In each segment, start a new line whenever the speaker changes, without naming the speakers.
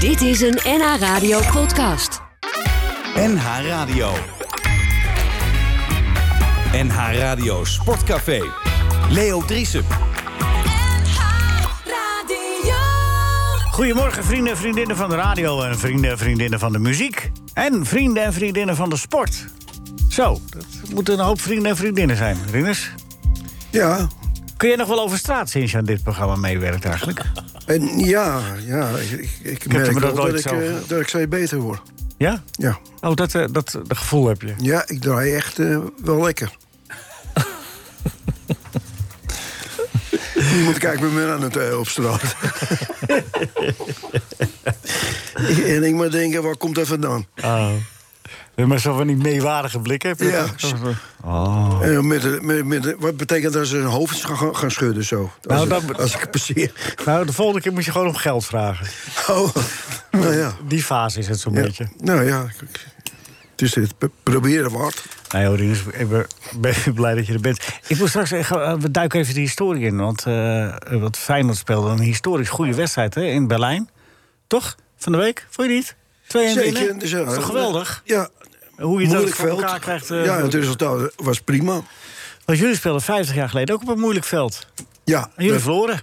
Dit is een NH Radio podcast.
NH Radio. NH Radio Sportcafé. Leo Driessen.
Goedemorgen, vrienden en vriendinnen van de radio en vrienden en vriendinnen van de muziek. En vrienden en vriendinnen van de sport. Zo, dat moeten een hoop vrienden en vriendinnen zijn, Rinus.
Ja,
Kun jij nog wel over straat sinds je aan dit programma meewerkt eigenlijk?
en ja, ja. Ik, ik, ik merk
me dat
wel dat,
ooit
ik,
zo
eh,
gehad.
dat ik steeds beter word.
Ja?
Ja,
Oh, dat, eh, dat, dat gevoel heb je.
ja ik draai echt eh, wel lekker. Niemand kijkt me meer aan het eh, op straat. en ik maar denken, waar komt dat vandaan?
Oh. Maar zo van die meewarige blik heb je.
Ja.
Oh.
En dan met, de- met, met, de- wat betekent dat als ze hun hoofd gaan, gaan schudden zo? Als,
Nou,
ik-
dat-
als ik passeer.
Nou, de volgende keer moet je gewoon om geld vragen.
Oh, nou ja.
Die fase is het zo'n
ja.
beetje.
Nou ja, ik- het is het p- proberen waard.
Nou joh, Rinus, ik ben, ben blij dat je er bent. Ik wil straks eh, gaan- eh, we duiken even de historie in. Want eh wat Feyenoord speelde een historisch goede wedstrijd hè, in Berlijn. Toch? Van de week? Vond je niet? Twee en
Zeker.
winnen?
dus ja,
Dat is toch geweldig?
Ja.
Hoe je dat
moeilijk
voor
veld.
elkaar krijgt. eh,
ja, het resultaat was prima.
Want jullie speelden 50 jaar geleden ook op een moeilijk veld.
Ja,
En jullie
dat-
verloren.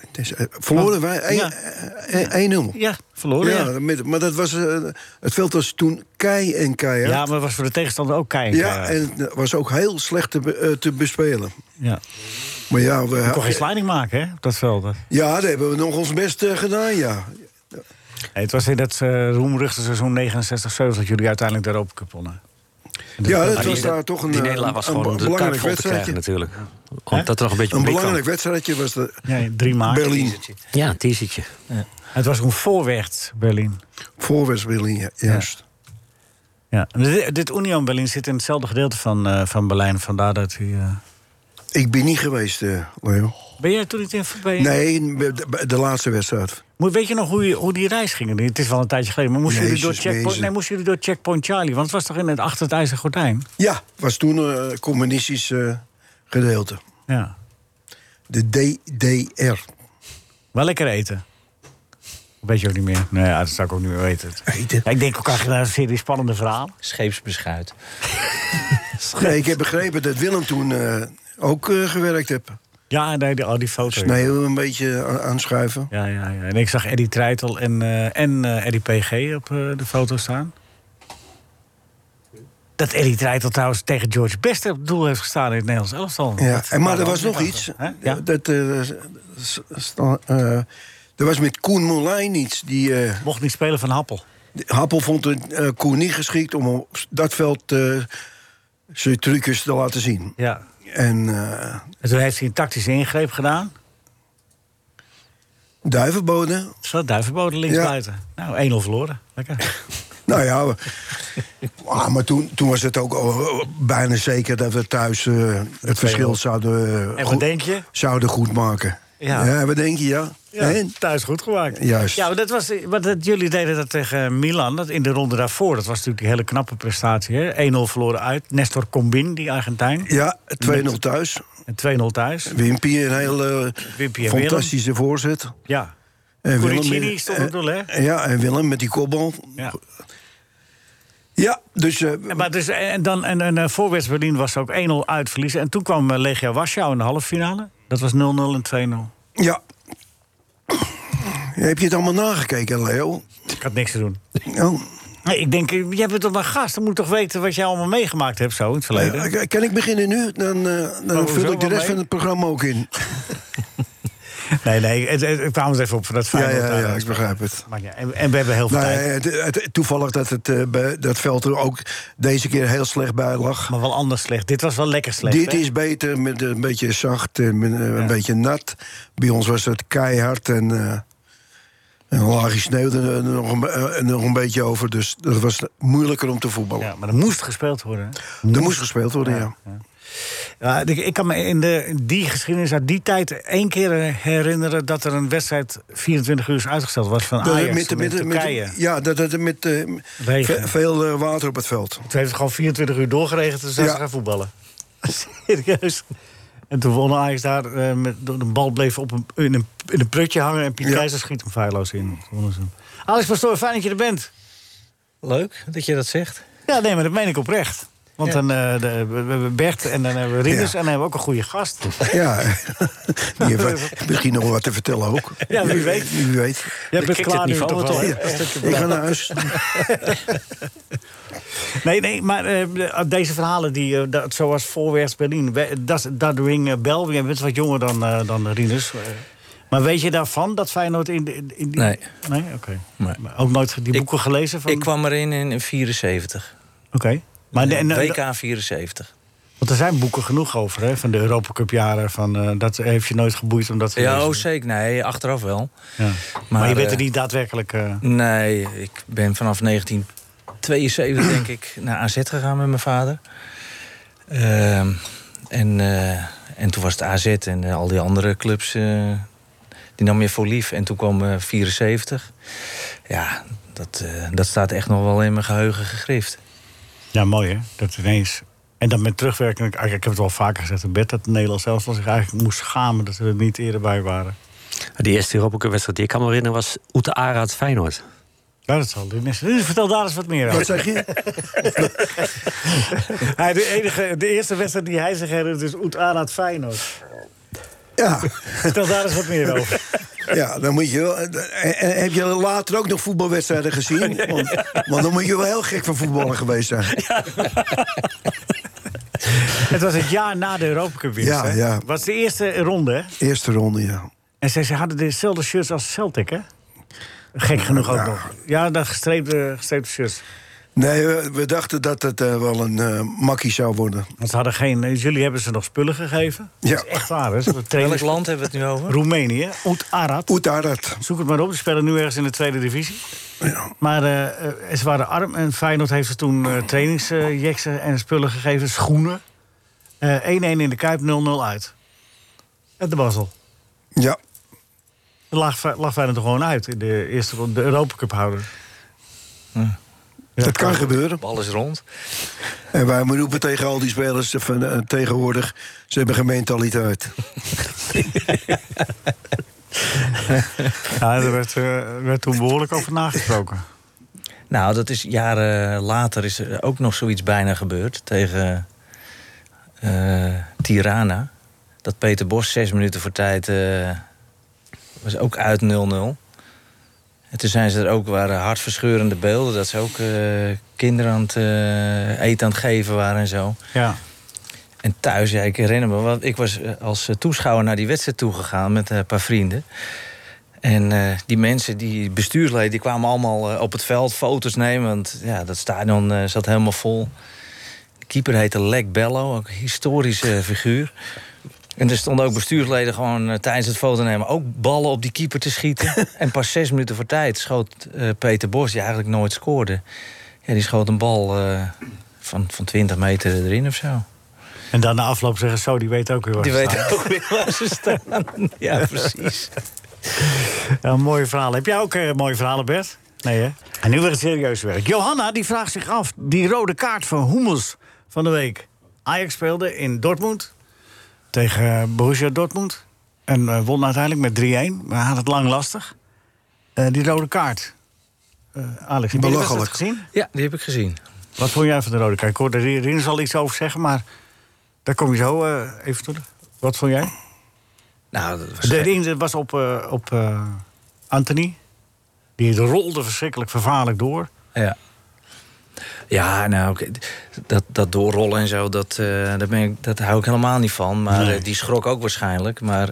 het is, eh, verloren wij één-
Ja.
eh, eh, 1-0.
Ja, verloren. Ja,
Ja, met- maar dat was, eh, het veld was toen kei en
ja.
keihard.
maar het was voor de tegenstander ook keihard. eh.
Ja, en het was ook heel slecht te, be- eh, te bespelen.
Ja.
Maar ja, we,
Kon geen sliding maken, hè, op dat veld. Nee,
ja, daar hebben we nog ons best eh, gedaan, ja.
het was in dat eh roemruchte seizoen 69-70 dat jullie uiteindelijk de Europa Cup wonnen. En
Ja, dat
dat- Ah,
was daar toch een,
Die
eh,
Nederlaag was
een
gewoon
be-
de taak
belangrijk
vol te krijgen
wedstrijdje.
natuurlijk. Omdat dat er nog een beetje
Een
publiek
belangrijk wedstrijdje was de
Ja, drie maanden.
Berlien.
kwam. Ja, een teasertje.
Het was een voorwerd Berlin.
Voorwest Berlien, ja, juist.
Ja. En Dit, dit Union Berlin zit in hetzelfde gedeelte van, eh, van Berlijn. Vandaar dat u. eh,
Ik ben niet geweest, eh, Leo.
Ben jij toen niet in voorbij?
Nee, de, de laatste wedstrijd.
Moet, weet je nog hoe, je- hoe die reis ging? Het is wel een tijdje geleden. Maar moesten jullie, door
Jezus,
checkpoint,
Jezus.
nee, moesten jullie door Checkpoint Charlie? Want het was toch in het achter het ijzeren gordijn?
Ja, was toen een communistisch eh, gedeelte.
Ja.
De DDR.
Wel lekker eten. Weet je ook niet meer? Nee, ja, dat zou ik ook niet meer weten.
Eten?
Ja, ik denk ook aan een serie spannende verhaal.
Scheepsbeschuit.
Nee, ik heb begrepen dat Willem toen eh, ook eh, gewerkt heeft.
Ja, nee, die, oh, die foto.
Sneeuw een beetje a- aanschuiven.
Ja, ja, ja. En ik zag Eddie Treitel en, eh, en eh, Eddie PG op eh, de foto staan. Dat Eddie Treitel trouwens tegen George Best op het doel heeft gestaan in het Nederlands elftal.
Ja.
Dat-
En, maar er
dat-
was nog iets.
Hè? Ja.
Dat, eh, s- sta- eh, er was met Koen Moulijn iets. Die, eh,
Mocht niet spelen van Happel.
de- Happel vond het, eh, Koen niet geschikt om op dat veld eh, zijn trucjes te laten zien.
Ja.
En eh
En toen heeft hij een tactische ingreep gedaan.
duivenboden.
Zo, duivenboden links
Ja.
buiten. Nou, 1-0 verloren. Lekker.
Nou ja, we- ah, maar toen, toen was het ook al eh, bijna zeker dat we thuis eh, het verschil zouden, eh,
En wat
goed-
denk je?
zouden goed maken.
Ja.
we denken ja. En?
thuis goed gemaakt.
Juist.
Ja, maar dat was, maar dat, jullie deden dat tegen Milan dat in de ronde daarvoor. Dat was natuurlijk die hele knappe prestatie. hè. 1-0 verloren uit. Nestor Combin, die Argentijn.
Ja, 2-0 thuis.
En 2-0 thuis.
Wimpy een hele
Wimpy en
fantastische voorzet.
Ja.
En
Corricini stond op
eh,
doel, hè?
Ja, en Willem met die kopbal.
ja.
Ja, dus... eh,
En, maar dus, en, dan, en, en eh, voor West Berlin was ook 1-0 uitverliezen. En toen kwam eh, Legia Warschau in de halve finale. Dat was 0-0 en 2-0.
ja. Heb je het allemaal nagekeken, Leo?
Ik had niks te doen.
Oh.
Nee, ik denk, eh, jij bent toch maar gast. Dan moet je toch weten wat jij allemaal meegemaakt hebt zo in het verleden.
Eh, Kan ik beginnen nu? Dan, eh, dan
hoezo?
vul ik de
Wat
rest
mee?
van het programma ook in.
Nee, nee, het, het, het kwam ons even op van dat
Ja,
Feyenoord.
ja,
daar.
ja, ik begrijp het.
Maar ja, en, en we hebben heel veel
Nou,
tijd.
eh, het- het- toevallig dat het eh, bij- dat veld er ook deze keer heel slecht bij lag.
Maar wel anders slecht. Dit was wel lekker slecht.
Dit
hè?
is beter, met een beetje zacht, en met, eh, een beetje nat. Bij ons was het keihard en eh een laagje sneeuw er eh, nog een, be- eh, nog een beetje over. Dus dat was moeilijker om te voetballen.
Ja, maar er moest gespeeld worden. hè?
Er moest gespeeld worden, ja.
Ja, ik, ik kan me in, de, in die geschiedenis uit die tijd één keer herinneren dat er een wedstrijd 24 uur is uitgesteld was van
Dat-
Ajax met,
Eh, met- met- met-
Turkije.
ja, dat het met eh,
Regen.
ve- veel eh, water op het veld.
Toen heeft het gewoon 24 uur doorgeregend en zijn
Ja.
ze gaan voetballen. Serieus. En toen won Ajax daar. eh, met, door de bal bleef op een, in, een, in een prutje hangen. En Piet
Ja.
Keizer schiet hem feilloos in. Toen wonnen ze hem. Alex Pastoor, fijn dat je er bent.
Leuk dat je dat zegt.
Ja, nee, maar dat meen ik oprecht. Want
Ja.
dan eh, de- we we hebben Bert en dan hebben we Rieders
Ja.
en dan hebben we ook een goede gast.
Ja, die heeft misschien nog wat te vertellen ook.
Ja, wie weet.
Wie weet.
Jij bent
kikt het
klaar nu
niveau
toch
toch,
wel?
hè?
Ja.
Ik ga naar huis.
Nee, nee, maar eh, de- deze verhalen, die, eh, dat, zoals voorwerps Berlin, we- dat, dat ring eh, Bel, je bent wat jonger dan, eh dan Rieders. eh. maar weet je daarvan dat Feyenoord in... de- in, in die-
Nee.
Nee? Oké.
Nee.
Maar Ook nooit die
Ik-
boeken gelezen? Van...
Ik kwam erin in 74.
Oké. Maar de- en, eh,
WK 74.
Want er zijn boeken genoeg over, hè? Van de Europa Cup jaren. Van, eh, dat heeft je nooit geboeid om dat te
Ja,
lezen.
oh, zeker. Nee, achteraf wel.
Ja. Maar, je bent er
eh,
niet daadwerkelijk... eh,
Nee, ik ben vanaf 1972 denk ik naar AZ gegaan met mijn vader. Ehm, en, eh, en toen was het AZ en eh, al die andere clubs, eh, die nam je voor lief. En toen kwam eh, 74. Ja, dat, eh, dat staat echt nog wel in mijn geheugen gegrift.
Ja, mooi hè, dat ineens. En dan met terugwerking, ik, ik heb het wel vaker gezegd in bed... dat Nederland zelf zich eigenlijk moest schamen dat we er niet eerder bij waren.
De eerste Europa Cup wedstrijd die ik kan me herinneren was Oete Araat Feyenoord.
Ja, dat zal Rinus. Rinus, vertel daar eens wat meer
Wat
over.
zeg je?
Hij, de, enige, de eerste wedstrijd die hij zich herinnert is Oet Araat Feyenoord.
Ja,
Vertel daar eens wat meer over.
ja, dan moet je wel. en- en Heb je later ook nog voetbalwedstrijden gezien? Want, want dan moet je wel heel gek van voetballen geweest zijn.
Het was het jaar na de Europa Cup winst,
Ja,
hè?
ja.
was de eerste ronde, hè?
Eerste ronde, ja.
En ze, ze hadden dezelfde shirts als Celtic, hè? Gek genoeg ook nog. Ja, dat gestreepte, gestreepte shirts.
Nee, we, we dachten dat het eh, wel een eh, makkie zou worden.
Want ze hadden geen... eh, Jullie hebben ze nog spullen gegeven.
Ja.
Dat is echt waar, hè? Ze hebben
Welk
trainers-
land hebben we het nu over?
Roemenië, Oet Arat.
Oetarat.
Zoek het maar op, ze spelen nu ergens in de tweede divisie. Maar eh, eh, ze waren arm en Feyenoord heeft ze toen eh trainingsjeksen en spullen gegeven, schoenen. Eh, 1-1 in de Kuip, 0-0 uit. En de Basel.
Ja.
Er lag, Fe- lag Feyenoord er gewoon uit in de eerste ronde, de Europa Cup houder.
dat kan gebeuren.
Bal is rond.
En wij roepen tegen al die spelers van, eh, tegenwoordig... ze hebben geen mentaliteit.
Ja, daar werd, eh, werd toen behoorlijk over nagesproken.
Nou, dat is jaren later is er ook nog zoiets bijna gebeurd tegen eh, Tirana. Dat Peter Bos zes minuten voor tijd eh, was ook uit 0-0. En toen zijn ze er ook, waren hartverscheurende beelden... dat ze ook eh, kinderen aan het eh, eten aan het geven waren en zo.
Ja.
En thuis, ja, ik herinner me, want ik was eh, als eh, toeschouwer naar die wedstrijd toegegaan met eh, een paar vrienden. En eh, die mensen, die bestuursleden, die kwamen allemaal eh, op het veld foto's nemen. Want ja, dat stadion eh, zat helemaal vol. De keeper heette Lek Bello, ook een historische eh, figuur. En er stonden ook bestuursleden gewoon eh, tijdens het foto nemen ook ballen op die keeper te schieten. en pas zes minuten voor tijd schoot eh, Peter Bos, die eigenlijk nooit scoorde. Ja, die schoot een bal eh, van, van 20 meter erin of zo.
En dan na afloop zeggen zo, die weet ook weer wat
Die
ze
weten ook weer waar ze staan. Ja, precies.
Ja, mooie verhalen. Heb jij ook eh, mooie verhalen, Bert? Nee, hè? En nu weer het serieuze werk. Johanna die vraagt zich af, die rode kaart van Hummels van de week. Ajax speelde in Dortmund tegen eh, Borussia Dortmund. En eh, won uiteindelijk met 3-1. Maar had het lang lastig. Eh, die rode kaart. Eh, Alex, heb je die
Belachelijk.
wedstrijd gezien?
Ja, die heb ik gezien.
Wat vond jij van de rode kaart? Ik hoorde Rinus al iets over zeggen, maar daar kom je zo eh, even toe. Wat vond jij?
Nou, dat was
De
geen-
inzet was op, eh, op eh, Anthony. Die rolde verschrikkelijk vervaarlijk door.
ja. Ja, nou, oké, dat, dat doorrollen en zo, dat, eh, dat, ben ik, dat hou ik helemaal niet van. Maar
Nee.
eh, die schrok ook waarschijnlijk. Maar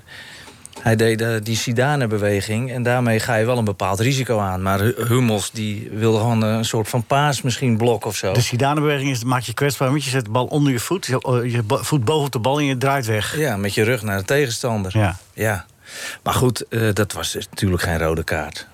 hij deed eh, die Sidane-beweging en daarmee ga je wel een bepaald risico aan. Maar Hu- Hummels, die wilde gewoon eh, een soort van paas misschien blok of zo.
De Sidane-beweging is, maak je kwetsbaar, want je zet de bal onder je voet. Je, eh, je bo- voet boven op de bal en je draait weg.
Ja, met je rug naar de tegenstander.
Ja.
Ja. Maar goed, eh, dat was natuurlijk geen rode kaart.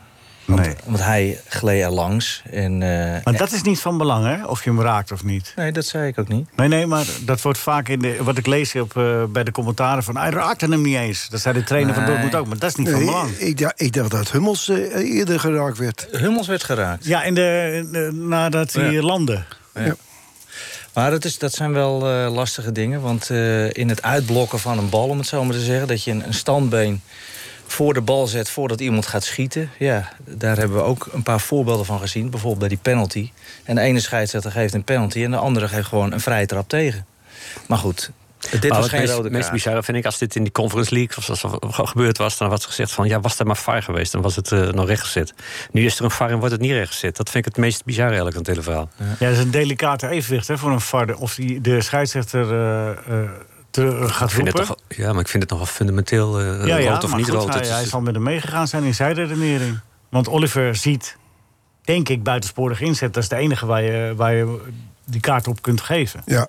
Nee.
Want hij gleed er langs. En, eh,
Maar dat is niet van belang, hè? Of je hem raakt of niet.
Nee, dat zei ik ook niet.
Nee, nee, maar dat wordt vaak in de, wat ik lees op, eh, bij de commentaren van... hij raakte hem niet eens. Dat zei de trainer van
Nee.
Dortmund ook, maar dat is niet van
Nee,
belang.
ik, dacht- ik dacht dat Hummels eh, eerder geraakt werd.
Hummels werd geraakt.
Ja, in de, in de- nadat hij
Ja.
landde.
Maar dat, is, dat zijn wel eh, lastige dingen. Want eh, in het uitblokken van een bal, om het zo maar te zeggen... dat je een, een standbeen voor de bal zet voordat iemand gaat schieten... ja, daar hebben we ook een paar voorbeelden van gezien. Bijvoorbeeld bij die penalty. En de ene scheidsrechter geeft een penalty... en de andere geeft gewoon een vrije trap tegen. Maar goed, dit
maar
was
wat
geen
meest,
rode
meest
kaart.
bizarre vind ik, als dit in die Conference League of zoals dat ge- gebeurd was, dan was gezegd van ja, was er maar VAR geweest, dan was het eh, nog recht gezet. Nu is er een VAR en wordt het niet recht gezet. Dat vind ik het meest bizarre eigenlijk aan het hele verhaal.
Ja, dat is een delicate evenwicht hè, voor een varde. Of die de scheidsrechter eh, eh, te- gaat
Ik vind het
roepen.
toch, ja, maar ik vind het nogal fundamenteel eh
ja, ja,
rood of
maar
niet
goed,
rood.
Hij,
Het is-
hij zal met hem meegegaan zijn in zijn redenering. Want Oliver ziet, denk ik, buitensporig inzet. Dat is de enige waar je, waar je die kaart op kunt geven.
Ja,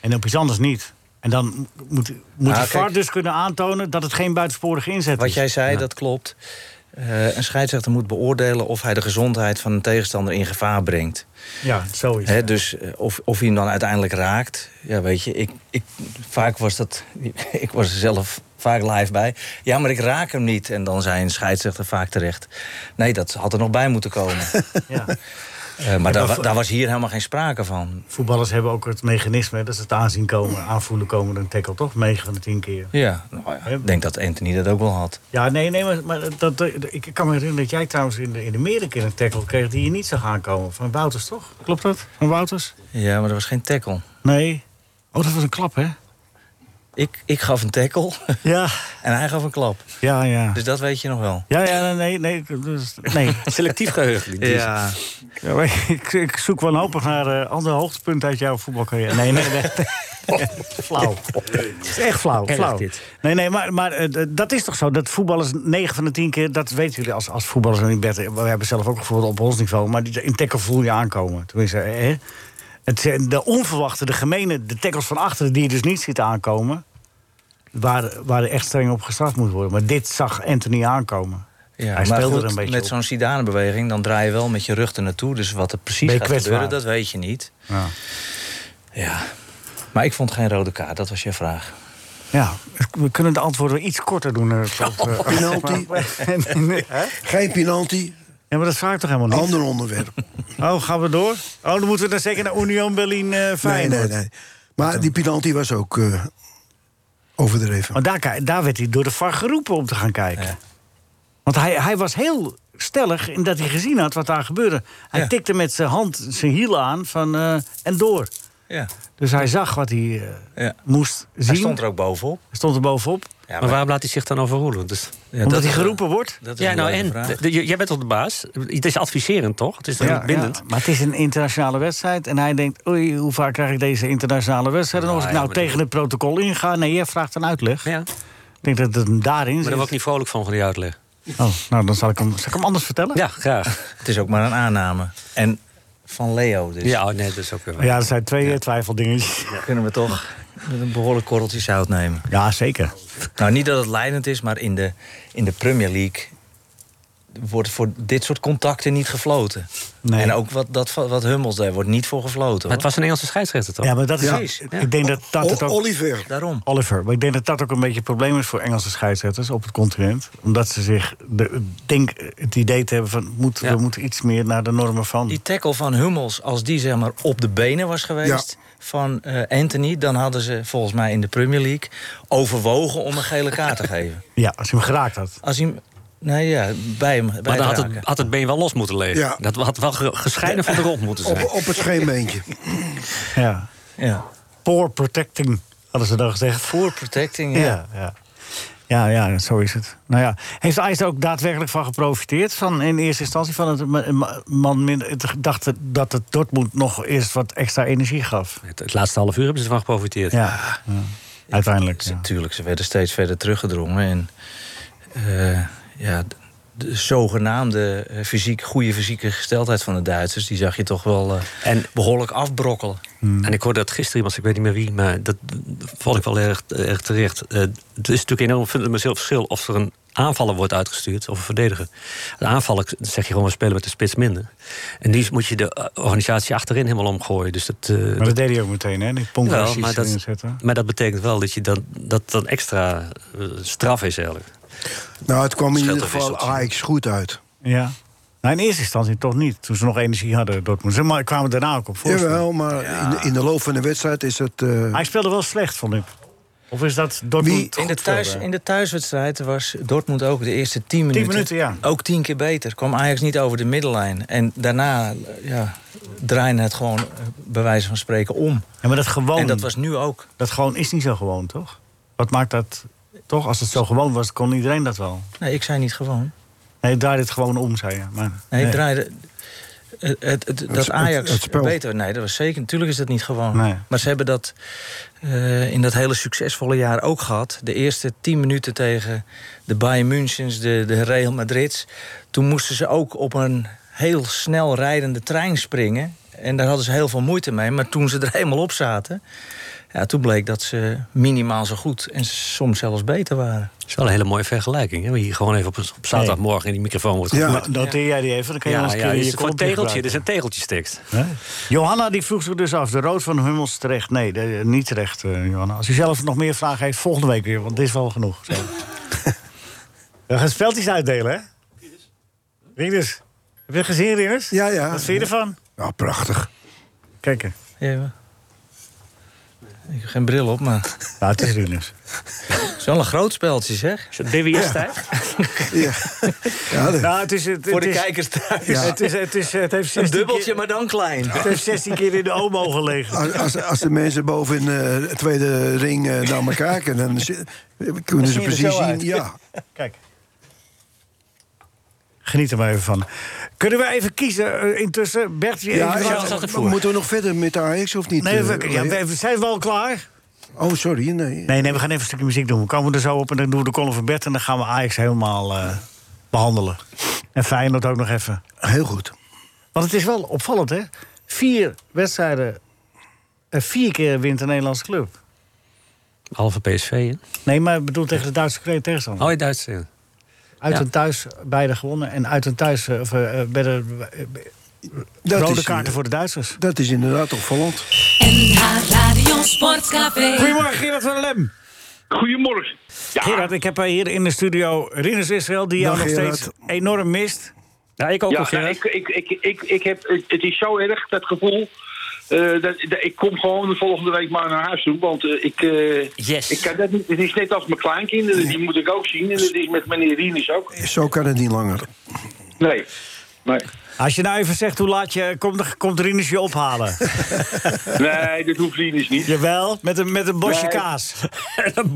En op iets anders niet. En dan moet, moet
Nou,
de VAR
kijk.
dus kunnen aantonen dat het geen buitensporige inzet
Wat
is.
jij zei, dat klopt. Eh, een scheidsrechter moet beoordelen of hij de gezondheid van een tegenstander in gevaar brengt.
Ja, zo is
Hè,
het.
dus eh, of, of hij hem dan uiteindelijk raakt. Ja, weet je, ik, ik, vaak was dat. Ik was er zelf vaak live bij. Ja, maar ik raak hem niet. En dan zei een scheidsrechter vaak terecht. Nee, dat had er nog bij moeten komen.
Ja.
Eh, maar
maar
daar, wa-
voor-
daar was hier helemaal geen sprake van.
Voetballers hebben ook het mechanisme, dat is het aanzien komen, aanvoelen komen, dan tackle toch 9 van de 10 keer.
Ja, nou ja, ik denk dat Anthony dat ook wel had.
Ja, nee, nee, maar, maar dat, dat- ik kan me herinneren dat jij trouwens in de, in de Amerika een tackle kreeg die je niet zag aankomen. Van Wouters, toch? Klopt dat? Van Wouters?
Ja, maar er was geen tackle.
Nee. Oh, dat was een klap, hè?
Ik, ik gaf een tackle
Ja,
en hij gaf een klap.
ja, ja.
Dus dat weet je nog wel.
Ja, ja, nee, nee. Dus, nee.
Selectief geheugen. dit is-
Ja.
Ja, maar ik, ik zoek wanhopig naar eh andere hoogtepunten uit jouw voetbalcarrière. Nee, nee, nee. flauw. Het is echt flauw,
Erg
flauw.
dit.
Nee, nee, maar, maar eh, d- dat is toch zo? Dat voetballers 9 van de 10 keer, dat weten jullie als, als voetballers in bed. eh, We hebben zelf ook bijvoorbeeld op ons niveau, maar die, in tackle voel je aankomen. Tenminste, eh, hè? Het, zijn de onverwachte, de gemene, de tackles van achteren die je dus niet ziet aankomen, waar, waar er echt streng op gestraft moet worden. Maar dit zag Anthony aankomen.
Ja,
Hij
maar
speelde
goed,
er een beetje op.
met zo'n Zidane-beweging, dan draai je wel met je rug er naartoe. Dus wat er precies
Ben je
gaat gebeuren,
kwetsbaar.
dat weet je niet.
Ja.
Ja. Maar ik vond geen rode kaart, dat was je vraag.
Ja, we kunnen de antwoorden iets korter doen. eh, tot, eh,
Penalty.
Nee, hè?
geen penalty,
ja, maar dat vraag ik toch helemaal niet?
ander onderwerp.
Oh, gaan we door? Oh, dan moeten we dan zeker naar Union Berlin eh
Nee,
Feyenoord.
nee, nee. Maar die penalty was ook eh, overdreven.
Want daar, ki- daar werd hij door de VAR geroepen om te gaan kijken.
Ja.
Want hij, hij was heel stellig in dat hij gezien had wat daar gebeurde. Hij
Ja.
tikte met zijn hand zijn hiel aan van, eh, en door.
Ja.
Dus hij zag wat hij eh,
ja.
moest zien.
Hij stond er ook bovenop.
Hij stond er bovenop.
Ja,
Maar waarom laat hij zich dan overroelen? Dus,
ja,
omdat
dat
hij
is- eh,
geroepen wordt.
dat is
ja,
een
nou
leuke
en?
vraag.
D- j- Jij bent toch de baas? Het is adviserend, toch? Het is toch niet bindend?
maar het is een internationale wedstrijd. En hij denkt, oei, hoe vaak krijg ik deze internationale wedstrijd? En als ik
Nou,
nou
ja, maar
tegen het protocol inga... Nee, jij vraagt een uitleg.
Ja, maar
Ik denk dat het hem daarin
daar
zit.
word ik niet vrolijk van, van die uitleg.
Oh, nou, dan zal ik hem, zal ik hem anders vertellen.
Ja, graag.
Het is ook maar een aanname. En van Leo, dus
Ja, oh, nee, dat is ook weer waar.
Ja, dat zijn twee eh, twijfeldingetjes.
kunnen we toch met een behoorlijk korreltje zout nemen.
Ja, zeker.
Nou, niet dat het leidend is, maar in de, in de Premier League wordt voor dit soort contacten niet gefloten.
Nee.
En ook wat, dat, wat Hummels daar wordt niet voor gefloten.
Maar
hoor.
het was een Engelse scheidsrechter, toch?
Ja, maar dat is...
Precies, ja.
Ik denk dat dat het
O-
ook...
Oliver.
Daarom.
Oliver, maar ik denk dat dat ook een beetje een probleem is voor Engelse scheidsrechters op het continent. Omdat ze zich de, denk, het idee te hebben van... Moet,
Ja.
we moeten iets meer naar de normen van.
Die tackle van Hummels, als die zeg maar op de benen was geweest van eh, Anthony, dan hadden ze volgens mij in de Premier League overwogen om een gele kaart te geven.
Ja, als je hem geraakt had.
Als hij, hem- nou ja, bij hem, bij
Maar dan
het
had
raken.
het, had het been wel los moeten liggen.
Ja.
Dat had wel ge- gescheiden van de rond moeten zijn.
Op, op het scheenbeentje.
Ja.
Ja.
Poor protecting, hadden ze dan gezegd.
Voor protecting, ja.
Ja, ja. Ja, ja, zo is het. Nou ja, heeft IJs er ook daadwerkelijk van geprofiteerd? Van in eerste instantie van het ma- ma- man minder. Het dacht het- dat het Dortmund nog eerst wat extra energie gaf.
Het, het laatste half uur hebben ze ervan geprofiteerd.
Ja, ja. uiteindelijk.
Ze-
Ja.
Tuurlijk, ze werden steeds verder teruggedrongen. En eh, ja, de- de zogenaamde eh, fysiek, goede fysieke gesteldheid van de Duitsers... die zag je toch wel eh,
En,
behoorlijk afbrokkelen.
Hmm.
en ik hoorde dat gisteren iemand, ik weet niet meer wie, maar dat vond ik wel erg, erg terecht. Eh, het is natuurlijk enorm fundamenteel verschil of er een aanvaller wordt uitgestuurd of een verdediger. Een aanvaller zeg je gewoon, we spelen met de spits minder. En die moet je de eh, organisatie achterin helemaal omgooien. Dus dat, eh,
Maar dat deed hij ook meteen, hè? Die
Jawel,
pompjes
maar dat-
erin zetten.
Maar dat betekent wel dat je dan, dat dan extra eh, straf is eigenlijk.
Nou, het kwam in
Scheelt
ieder
een
geval
wisseltje.
Ajax goed uit.
Ja. Nou, in eerste instantie toch niet. Toen ze nog energie hadden, Dortmund. Maar kwamen daarna ook op voorsprong.
Jawel, maar in, in de loop van de wedstrijd is het... eh,
Hij speelde wel slecht, vond ik. Of is dat Dortmund
Wie-
goed
In de, thuis,
speelde?
in de thuiswedstrijd was Dortmund ook de eerste 10 minuten.
minuten, ja.
Ook tien keer beter. Kwam Ajax niet over de middellijn. En daarna ja, draaide het gewoon, eh, bij wijze van spreken, om.
Ja, maar dat gewoon,
En dat
dat,
was nu ook.
gewoon is niet zo gewoon, toch? Wat maakt dat toch? Als het zo gewoon was, kon iedereen dat wel.
Nee, ik zei niet gewoon.
Nee, draai het gewoon om, zei je. Maar,
Nee,
nee.
draaide. Het, het, het- dat
het-
Ajax
het spel.
beter. Nee, dat was zeker. Natuurlijk is dat niet gewoon.
Nee.
Maar ze hebben dat eh, in dat hele succesvolle jaar ook gehad. De eerste tien minuten tegen de Bayern Münchens, de, de Real Madrids. Toen moesten ze ook op een heel snel rijdende trein springen. En daar hadden ze heel veel moeite mee. Maar toen ze er helemaal op zaten, ja, toen bleek dat ze minimaal zo goed en soms zelfs beter waren.
Het is wel een hele mooie vergelijking. Hè? Wie hier gewoon even op, op zaterdagmorgen in die microfoon wordt
Ja.
gegooid.
Nou, noteer jij die even, dan kan je
Ja,
nog
ja,
eens een keer in
is
je
het voor een
column
tegeltje.
gebruiken.
Er is een tegeltje tekst.
Johanna die vroeg zich dus af, de rood van Hummels terecht? Nee, de- niet terecht, eh, Johanna. Als u zelf nog meer vragen heeft, volgende week weer, want dit is wel genoeg. Zo. We gaan speltjes uitdelen, hè? Rieders, heb je het gezien, Rieders?
Ja, ja.
Wat vind je ervan?
Nou, prachtig.
Kijk, er.
Ja. Ik heb geen bril op, maar
nou, het is Rieders.
het is wel een groot speltje, zeg.
Is het BWS-tijd?
Ja, ja dat-
Nou, het is... Het, het
Voor de
is,
kijkers thuis.
Ja. Het, is, het, is, het, heeft
Een
16
dubbeltje,
keer,
maar dan klein.
het heeft 16 keer in de OMO gelegen.
als, als, als de mensen boven in eh, de tweede ring eh, naar elkaar kijken... dan zi- kunnen ze
zie je er
precies
zo
zien...
uit.
Ja,
Kijk. Geniet er maar even van. Kunnen we even kiezen eh, intussen? Bert, je
ja,
even
ja,
was altijd voor.
moeten we nog verder met de Ajax of niet?
Nee, we,
eh,
ja,
Leo?
we- we zijn wel klaar.
Oh, sorry, nee.
Nee, nee, we gaan even een stukje muziek doen. We komen er zo op en dan doen we de column van Bert... en dan gaan we Ajax helemaal eh, behandelen. En Feyenoord ook nog even.
Heel goed.
Want het is wel opvallend, hè? Vier wedstrijden... eh, vier keer wint een Nederlandse club.
Halve PSV, hè?
Nee, maar ik bedoel tegen de Duitse tegenstander.
Oh, je Duits. ja.
Uit
Ja.
en thuis beide gewonnen. En uit en thuis eh, of, eh, bij de, eh,
Dat
rode
is,
kaarten voor de Duitsers.
Dat is inderdaad opvallend.
NH Radio Sportcafé.
Goedemorgen, Gerard van der Lem.
Goedemorgen. Ja,
Gerard, ik heb eh, hier in de studio Rinus Israël... die jou
Dag,
nog
Gerard.
steeds enorm mist.
Ja, ik ook
ja,
nog,
nou,
Gerard.
ik, ik, ik, ik, ik heb, het- het is zo erg, dat gevoel. eh, dat, dat- ik kom gewoon de volgende week maar naar huis toe. Want eh, ik, eh,
Yes.
ik kan dat niet. Het is net als mijn kleinkinderen, die moet ik ook zien. En dat is met meneer Rinus ook.
Zo kan het niet langer.
Nee. Nee,
Als je nou even zegt hoe laat je... komt, komt Rinus je ophalen.
nee dat hoeft Rinus niet.
Jawel, met een, met een bosje
Nee.
kaas.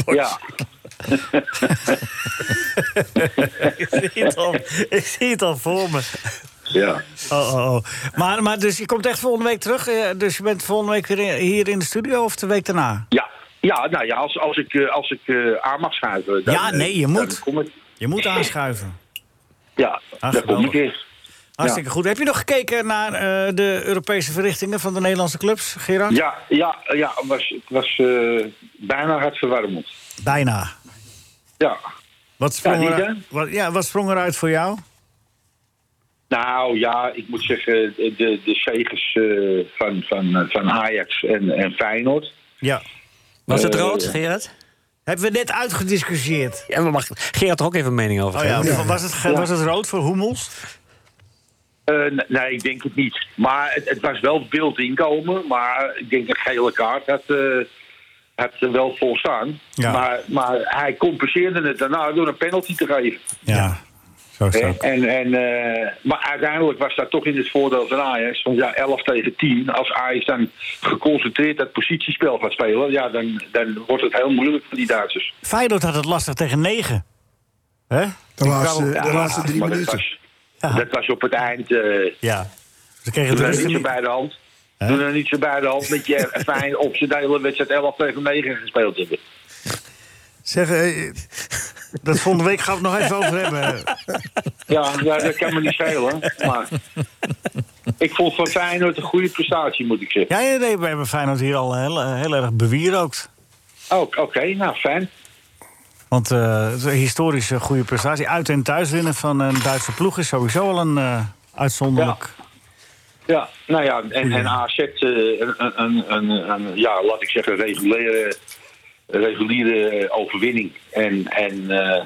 Ja.
ik, zie het al, ik zie het al voor me.
ja.
Oh, oh, oh. Maar, maar dus je komt echt volgende week terug. eh, Dus je bent volgende week weer in- hier in de studio of de week daarna?
Ja, ja nou ja, als, als ik, eh, als ik eh, aan mag schuiven... dan,
Ja,
eh,
nee, je
dan
moet.
kom ik.
Je moet aanschuiven.
Ja, daar kom
geweldig.
ik eens.
Hartstikke goed. Heb je nog gekeken naar eh, de Europese verrichtingen van de Nederlandse clubs, Gerard?
Ja, ja, ja het was, het was eh, bijna hartverwarmend.
Bijna.
Ja.
Wat sprong,
Ja,
er-
niet, hè?
wat, ja, wat sprong eruit voor jou?
Nou ja, ik moet zeggen, de, de zegens eh, van, van, van Ajax en, en Feyenoord.
Ja.
Was het
Eh,
rood, Gerard?
Hebben we net uitgediscussieerd.
Ja, maar mag Gerard er ook even een mening over
Oh
geven?
ja, was, het, ge- was het rood voor Hummels?
Eh, n- nee, ik denk het niet. Maar het, het was wel wild inkomen. Maar ik denk dat gele kaart had, eh, had er wel volstaan.
Ja.
Maar, maar hij compenseerde het daarna door een penalty te geven.
Ja. Zo is het ook.
En, en, eh, maar uiteindelijk was dat toch in het voordeel van Ajax. Want ja, 11 tegen 10. Als Ajax dan geconcentreerd dat positiespel gaat spelen... Ja, dan, dan wordt het heel moeilijk voor die Duitsers.
Feyenoord had het lastig tegen 9. Hè?
De laatste,
wou-
de laatste drie
Maar
minuten.
Dat was, dat was op het eind. eh
Ja. Ze kregen
doe
het
daar
rustig
niet
niet.
zo bij de hand. Doe daar niet zo bij de hand met je fijn op z'n hele wedstrijd 11 tegen 9 gespeeld hebben.
Zeg, eh, dat volgende week gaan we het nog even over hebben.
Ja, ja, dat kan me niet schelen. Maar ik vond van Feyenoord een goede prestatie, moet ik zeggen.
Ja, ja nee, we hebben Feyenoord hier al heel, eh, heel erg bewierookt.
Oh, Oké, nou fijn.
Want eh, het is een historische goede prestatie. Uit en thuis winnen van een Duitse ploeg is sowieso al een eh, uitzonderlijk...
Ja, nou ja, en, en AZ, eh, een, een, een, een- een- ja, laat ik zeggen, reguliere, reguliere overwinning. En, en eh,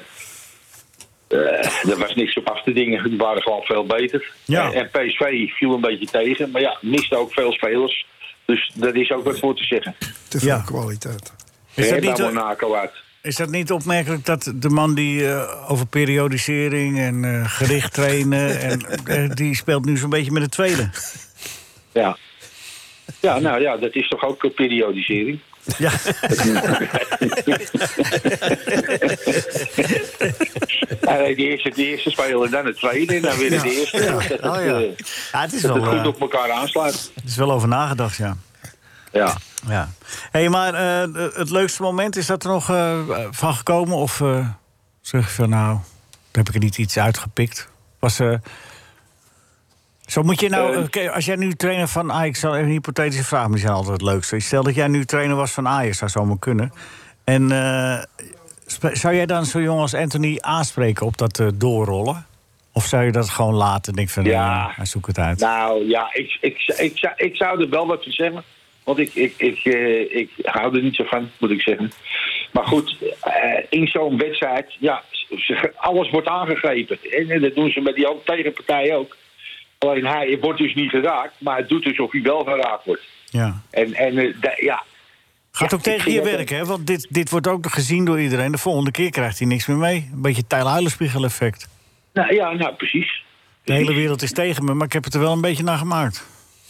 eh, Er was niks op af te dingen. Die waren gewoon veel beter.
Ja.
En PSV viel een beetje tegen. Maar ja, miste ook veel spelers. Dus daar is ook wat voor te zeggen.
Te veel
Ja.
kwaliteit.
Is dat,
En
niet,
bij
eh,
Monaco uit.
is dat niet opmerkelijk dat de man die eh, over periodisering en eh, gericht trainen... en, eh, die speelt nu zo'n beetje met de tweede?
Ja. Ja, nou ja, dat is toch ook eh, periodisering.
Ja,
Ja, nee, de, eerste, de eerste speler, dan de tweede en dan weer de eerste. Dat het,
Oh, ja.
eh,
ja het, is
dat
wel,
het
eh,
goed op elkaar aansluit.
het is wel over nagedacht, ja.
Ja.
Ja. Hey, maar eh, het leukste moment is dat er nog eh, van gekomen? Of eh, zeg je van nou, daar heb ik er niet iets uitgepikt? Was, eh, zo moet je nou,
Eh.
oké, als jij nu trainer van Ajax, zal even een hypothetische vraag, maar die zijn altijd het leukste. Stel dat jij nu trainer was van Ajax, zou zomaar kunnen. En eh, sp- zou jij dan zo jong als Anthony aanspreken op dat eh, doorrollen? Of zou je dat gewoon laten en denk van,
Ja.
ja, zoek het uit?
Nou ja, ik, ik, ik, zou- ik zou er wel wat van zeggen. Want ik, ik, ik, eh, ik hou er niet zo van, moet ik zeggen. Maar goed, eh, in zo'n wedstrijd, ja, ze- alles wordt aangegrepen. En, eh, dat doen ze met die ook- tegenpartij ook. Alleen hij wordt dus niet geraakt, maar het doet alsof hij wel geraakt wordt.
ja.
En, en eh, da- ja,
Gaat
Ja,
ook
ik
tegen
vind
je
dat
werk, hè? Want dit, dit wordt ook gezien door iedereen. De volgende keer krijgt hij niks meer mee. Een beetje Tijl Huilenspiegel-effect.
nou, ja, nou precies.
De hele wereld is tegen me, maar ik heb het er wel een beetje naar gemaakt.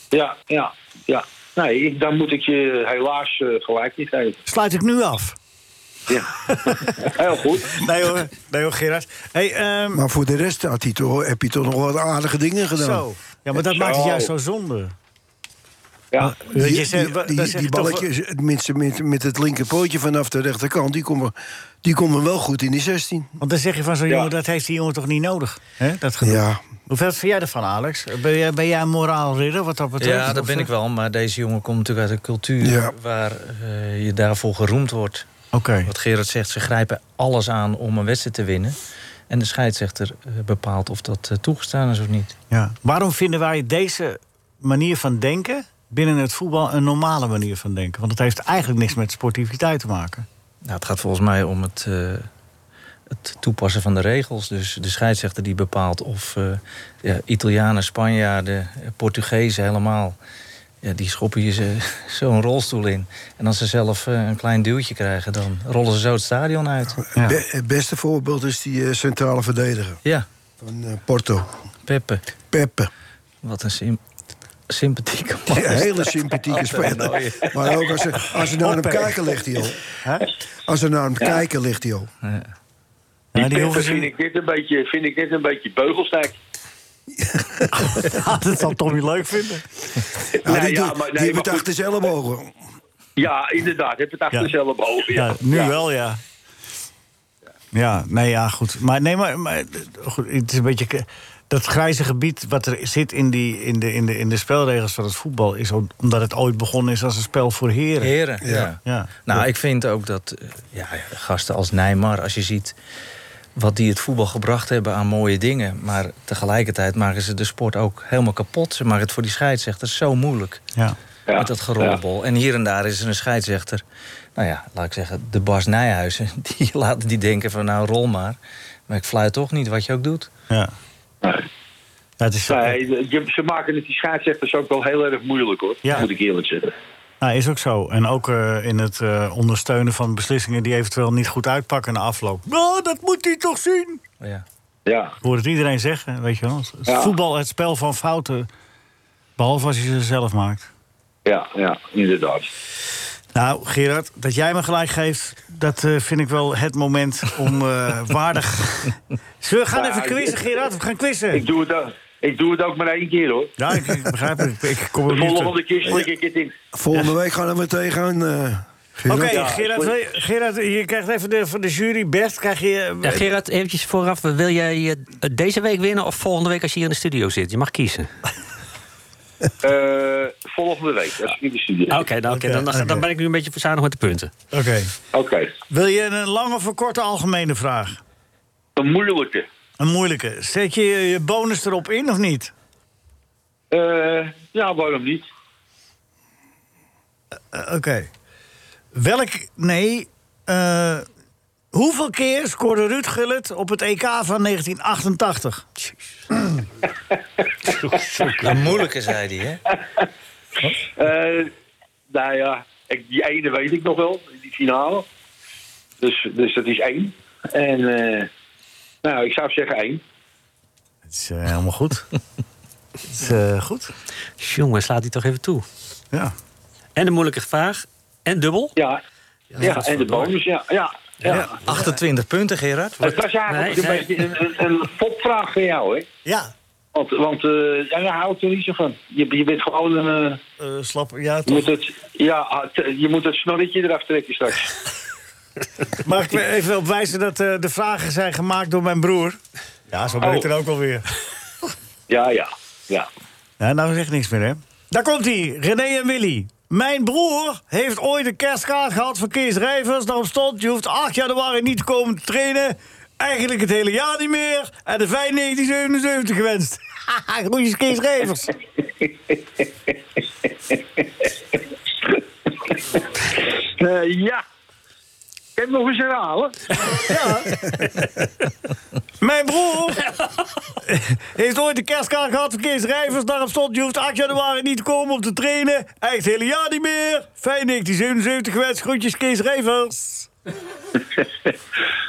Ja, ja, ja. Nee, ik- dan moet ik je helaas eh, gelijk niet geven.
Sluit ik nu af?
Ja. Heel goed.
Nee hoor, nee, hoor Gerard. Hey, ehm,
Maar voor de rest had hij toch, heb je toch nog wat aardige dingen gedaan.
zo. Ja, maar dat
Zo.
maakt het juist zo zonde.
Ja.
Dat je
Ah, Die,
zegt-
die,
dat
die-
zeg je
die
toch wel-
balletjes, tenminste met, met het linkerpootje vanaf de rechterkant, die komen, die komen wel goed in die 16.
Want dan zeg je van zo'n
Ja.
jongen, dat heeft die jongen toch niet nodig? Hè? Dat gedoe.
Ja,
Hoeveel vind jij ervan, Alex? Ben jij, ben jij een moraalridder wat dat betreft?
Ja, dat
Of,
ben
eh,
ik wel. Maar deze jongen komt natuurlijk uit een cultuur
Ja.
waar eh, je daarvoor geroemd wordt.
Oké.
Wat Gerard zegt, ze grijpen alles aan om een wedstrijd te winnen. En de scheidsrechter eh, bepaalt of dat eh, toegestaan is of niet.
Ja. Waarom vinden wij deze manier van denken binnen het voetbal een normale manier van denken? Want het heeft eigenlijk niks met sportiviteit te maken.
Nou, het gaat volgens mij om het, eh, het toepassen van de regels. Dus de scheidsrechter die bepaalt of eh, ja, Italianen, Spanjaarden, eh, Portugezen helemaal... Ja, die schoppen je ze- zo'n rolstoel in. En als ze zelf eh, een klein duwtje krijgen, dan rollen ze zo het stadion uit.
Ja.
Be- het beste voorbeeld is die eh, centrale verdediger
Ja,
van eh, Porto,
Peppe.
Peppe.
Wat een sym- sympathieke man.
Een hele sympathieke speler. Maar ook als ze, als ze naar hem kijken, ligt hij al. Als ze naar hem kijken, ligt hij al.
Ja, die
Die
jongens
vind ik dit een beetje, vind ik dit een beetje beugelstek.
Ah, dat zal Tommy leuk vinden.
Ja,
Nee,
die
ja,
doet-
maar- nee,
die heeft
maar
het
goed.
achter zijn ellebogen.
Ja, inderdaad. Heb het achter
Ja.
zelf boven. Ja.
Ja, nu
Ja.
wel, ja. Ja, nee, ja, goed. Maar, nee, maar, maar goed, het is een beetje... ke- Dat grijze gebied wat er zit in, die, in, de, in, de, in de spelregels van het voetbal... is om- omdat het ooit begonnen is als een spel voor heren.
Heren, ja.
Ja.
Nou, ik vind ook dat eh, ja, gasten als Neymar, als je ziet wat die het voetbal gebracht hebben aan mooie dingen. Maar tegelijkertijd maken ze de sport ook helemaal kapot. Ze maken het voor die scheidsrechters zo moeilijk.
Ja.
Ja.
Met dat gerollebol. En hier en daar is er een scheidsrechter. Nou ja, laat ik zeggen, de Bas Nijhuizen. Die laten die denken van nou, rol maar. Maar ik fluit toch niet wat je ook doet.
ja.
Nee.
Dat is,
Nee, je- ze maken het die scheidsrechters ook wel heel erg moeilijk hoor.
Ja.
Moet ik eerlijk zeggen.
Nou, is ook zo. En ook eh, in het eh, ondersteunen van beslissingen die eventueel niet goed uitpakken na afloop. Nou, dat moet hij toch zien?
Ja.
Ja.
Ik hoor het iedereen zeggen, weet je wel. Het
Ja.
Voetbal, het spel van fouten. Behalve als je ze zelf maakt.
Ja, ja, inderdaad.
Nou, Gerard, dat jij me gelijk geeft, dat eh, vind ik wel het moment om eh, waardig. Zullen we gaan
Ja,
even quizzen,
ik-
Gerard? We gaan quizzen.
Ik doe het ook, ik doe het ook maar één keer hoor.
Ja, ik, ik begrijp het. Ik, ik kom
De
er niet
volgende
terug.
keer slik ik het in.
Volgende week gaan we tegenaan. eh
Oké,
Gerard.
Ja,
Gerard,
goed.
wil je- Gerard, je krijgt even de, van de jury best. Krijg je, eh,
Ja, Gerard, eventjes vooraf. Wil jij eh, deze week winnen of volgende week als je hier in de studio zit? Je mag kiezen.
Eh, volgende week, als ik in de studio
Oké,
zit.
nou, oké, dan, dan, dan ben ik nu een beetje verzadigd met de punten.
Oké.
Oké.
Wil je een lange of een korte algemene vraag?
Een moeilijke.
Een moeilijke. Zet je je bonus erop in of niet?
Eh, ja, waarom niet?
Eh, Oké. Welk. Nee. eh, Hoeveel keer scoorde Ruud Gullit op het EK van 1988?
Een moeilijke, zei hij, hè?
Eh, nou ja, ik- die ene weet ik nog wel, die finale. Dus, dus dat is één. En eh, nou, ik zou zeggen één.
Het is eh, helemaal goed. Het is eh, goed.
Jongen, slaat die toch even toe.
Ja.
En de moeilijke vraag. En dubbel.
Ja, ja, en de
godverdomme.
bonus, ja. ja, ja.
28 punten, Gerard.
Het was eigenlijk
Nee,
een
nee.
beetje een, een, een popvraag voor jou, hè?
Ja,
Want, want eh, ja, daar hou ik er niet zo van. Je, je bent gewoon een... eh,
eh, slap. Ja,
je,
toch.
moet het, ja, het- eh, je moet het snorretje eraf trekken straks.
Mag ik er even op wijzen dat eh, de vragen zijn gemaakt door mijn broer? Ja, zo ben ik
Oh.
er ook alweer.
Ja, ja, ja.
Ja, nou zegt niks meer, hè? Daar komt hij, René en Willy. Mijn broer heeft ooit een kerstkaart gehad van Kees Rijvers. Daarop stond, je hoeft 8 januari niet te komen te trainen. Eigenlijk het hele jaar niet meer. En de fijn 1977 gewenst. Haha, groetjes Kees Rijvers.
Eh, ja. Kan je hem nog eens herhalen?
Mijn broer heeft ooit een kerstkaart gehad van Kees Rijvers. Daarop stond, je hoeft 8 januari niet te komen om te trainen. Eigenlijk het hele jaar niet meer. Fijn 1977 gewenst. Groetjes Kees Rijvers.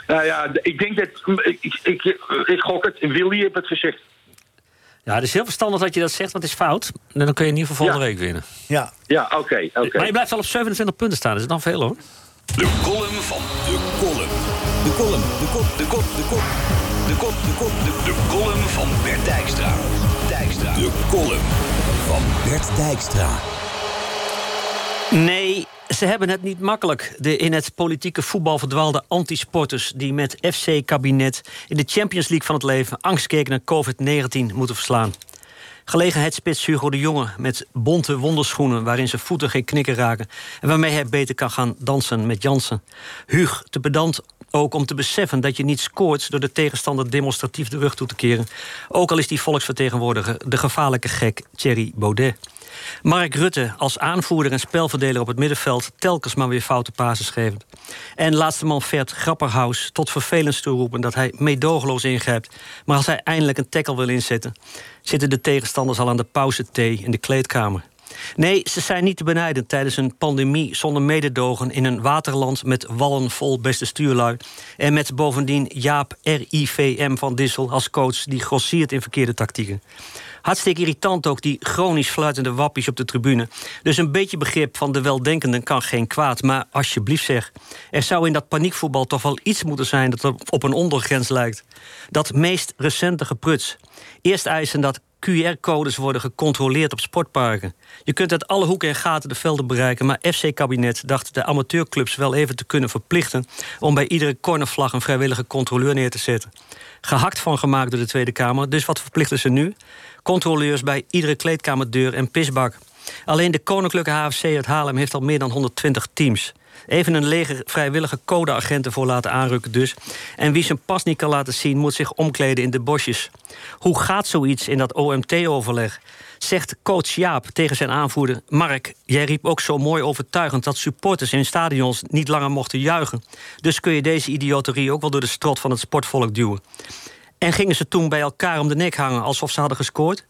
Nou ja, d- ik denk dat... Ik, ik, ik, ik gok het. Willy heeft het gezegd.
Ja, het is heel verstandig dat je dat zegt, want het is fout. En dan kun je in ieder geval volgende
Ja.
week winnen.
Ja,
Ja, oké, oké.
Maar je blijft wel op 27 punten staan. dus Dat is dan veel, hoor.
De column van de column. De column, de kop, de kop, de kop. De kop, de kop, de De column van Bert Dijkstra. Dijkstra. De column van Bert Dijkstra.
Nee, ze hebben het niet makkelijk. De in het politieke voetbal verdwaalde antisporters... die met FC-kabinet in de Champions League van het leven... angst keken naar COVID-19 moeten verslaan. Gelegenheidsspits Hugo de Jonge met bonte wonderschoenen... waarin zijn voeten geen knikken raken... en waarmee hij beter kan gaan dansen met Jansen. Huug, te pedant ook om te beseffen dat je niet scoort... door de tegenstander demonstratief de rug toe te keren. Ook al is die volksvertegenwoordiger de gevaarlijke gek Thierry Baudet. Mark Rutte als aanvoerder en spelverdeler op het middenveld... telkens maar weer foute pases gevend. En laatste man Vert Grapperhaus tot vervelens toe roepen... dat hij meedogenloos ingrijpt. Maar als hij eindelijk een tackle wil inzetten... zitten de tegenstanders al aan de pauze thee in de kleedkamer. Nee, ze zijn niet te benijden tijdens een pandemie zonder mededogen... in een waterland met wallen vol beste stuurlui... en met bovendien Jaap RIVM van Dissel als coach... die grossiert in verkeerde tactieken. Hartstikke irritant ook die chronisch fluitende wappies op de tribune. Dus een beetje begrip van de weldenkenden kan geen kwaad. Maar alsjeblieft zeg, er zou in dat paniekvoetbal toch wel iets moeten zijn... dat op- op een ondergrens lijkt. Dat meest recente gepruts. Eerst eisen dat QR-codes worden gecontroleerd op sportparken. Je kunt uit alle hoeken en gaten de velden bereiken... maar FC-kabinet dacht de amateurclubs wel even te kunnen verplichten... om bij iedere cornervlag een vrijwillige controleur neer te zetten. Gehakt van gemaakt door de Tweede Kamer, dus wat verplichten ze nu? Controleurs bij iedere kleedkamerdeur en pisbak. Alleen de Koninklijke HFC uit Haarlem heeft al meer dan 120 teams. Even een leger vrijwillige codeagenten voor laten aanrukken dus. En wie zijn pas niet kan laten zien, moet zich omkleden in de bosjes. Hoe gaat zoiets in dat OMT-overleg? Zegt coach Jaap tegen zijn aanvoerder... Mark, jij riep ook zo mooi overtuigend... dat supporters in stadions niet langer mochten juichen. Dus kun je deze idioterie ook wel door de strot van het sportvolk duwen. En gingen ze toen bij elkaar om de nek hangen alsof ze hadden gescoord?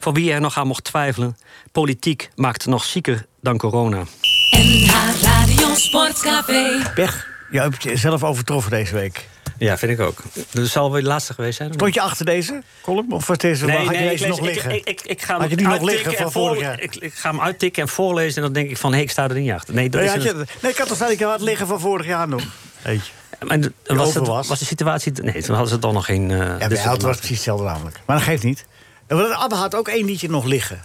Van wie er nog aan mocht twijfelen, politiek maakt nog zieker dan corona.
NH Radio Sportcafé.
Pech. Je hebt jezelf overtroffen deze week.
Ja, vind ik ook. Dat zal wel de laatste geweest zijn.
Stond je achter deze column? Of was deze
Nee,
had
nee,
je
ik,
deze
lees-
nog liggen?
Ik, ik, ik, ik ga
Had
hem
je die nog
uittikken
liggen van
en voor-
vorig jaar?
Ik, ik ga hem uittikken en voorlezen en dan denk ik van... hé, ik sta er niet achter. Nee, dat
nee,
is
had
een-
je, nee, ik had toch staan, ik had het liggen van vorig jaar nog. Eentje.
en de-
Die
was,
over
het,
was.
was de situatie... Nee, toen hadden ze dan nog geen... eh,
Ja,
dus
bij het
dat-
was precies hetzelfde namelijk. Maar dat geeft niet. En want Abba had ook één liedje nog liggen.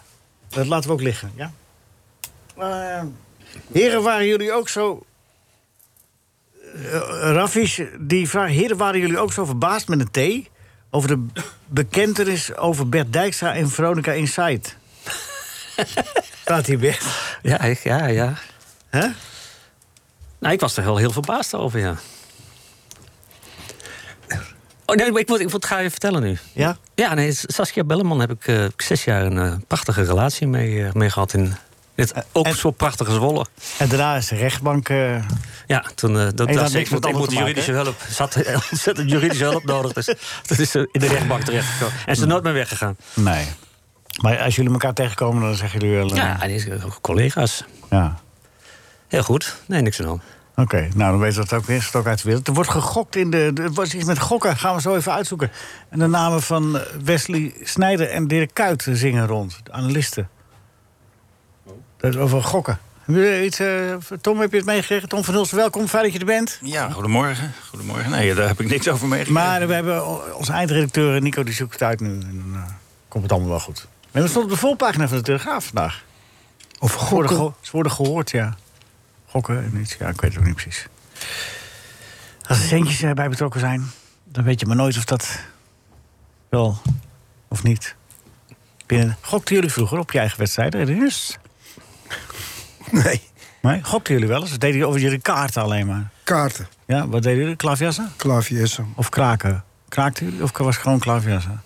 Dat laten we ook liggen, ja? Eh, heren, waren jullie ook zo... Eh, Raffies, die vraag... Heren, waren jullie ook zo verbaasd met een T... over de bekentenis over Bert Dijkstra en Veronica Insight? Staat hier Bert.
Ja, ik- ja, ja.
Hè?
Nou, ik was er wel heel verbaasd over, ja. Oh, nee, maar ik, moet, ik moet, ga je vertellen nu.
Ja?
Ja, nee, Saskia Belleman heb ik eh, zes jaar een eh, prachtige relatie mee, eh, mee gehad in, Net, ook
en-
zo prachtig als Wolle.
En daarna is de rechtbank. eh,
Ja, toen, eh, dat,
En dat
dat,
had niks
ik moet,
met
ik moet
alles te
juridische hulp. Zat eh, ontzettend juridische hulp nodig. Dus dat is eh, in de rechtbank terechtgekomen. En ze is nooit meer weggegaan.
nee. Maar als jullie elkaar tegenkomen, dan zeggen jullie wel. eh,
Ja, die is ook collega's.
ja.
Heel goed. Nee, niks aan de hand.
Oké, nou dan weten we dat ook weer. Is het ook uit de wereld. Er wordt gegokt in de. Er was iets met gokken. Gaan we zo even uitzoeken. En de namen van Wesley Snijder en Dirk Kuyt zingen rond. De analisten. Dat is over gokken. Heb je iets, eh, Tom, heb je het meegekregen? Tom van Hulst, welkom. Fijn dat je er bent.
Ja, goedemorgen. Goedemorgen. Nee, daar heb ik niks over meegekregen.
Maar we hebben o- onze eindredacteur Nico, die zoekt het uit nu. En dan eh, komt het allemaal wel goed. En dat stond op de voorpagina van de Telegraaf vandaag.
Of
Ze worden,
gokken.
geho- ze worden gehoord, ja. Gokken en iets, ja, ik weet het ook niet precies. Als er centjes eh, bij betrokken zijn, dan weet je maar nooit of dat wel of niet. Binnen... Gokten jullie vroeger op je eigen wedstrijden? Dus,
Nee,
nee, gokten jullie wel eens? Of deden jullie over jullie kaarten alleen maar?
kaarten,
Ja, wat deden jullie? Klaafjassen?
klaviessen,
Of kraken? Kraakten jullie of was het gewoon klaafjassen?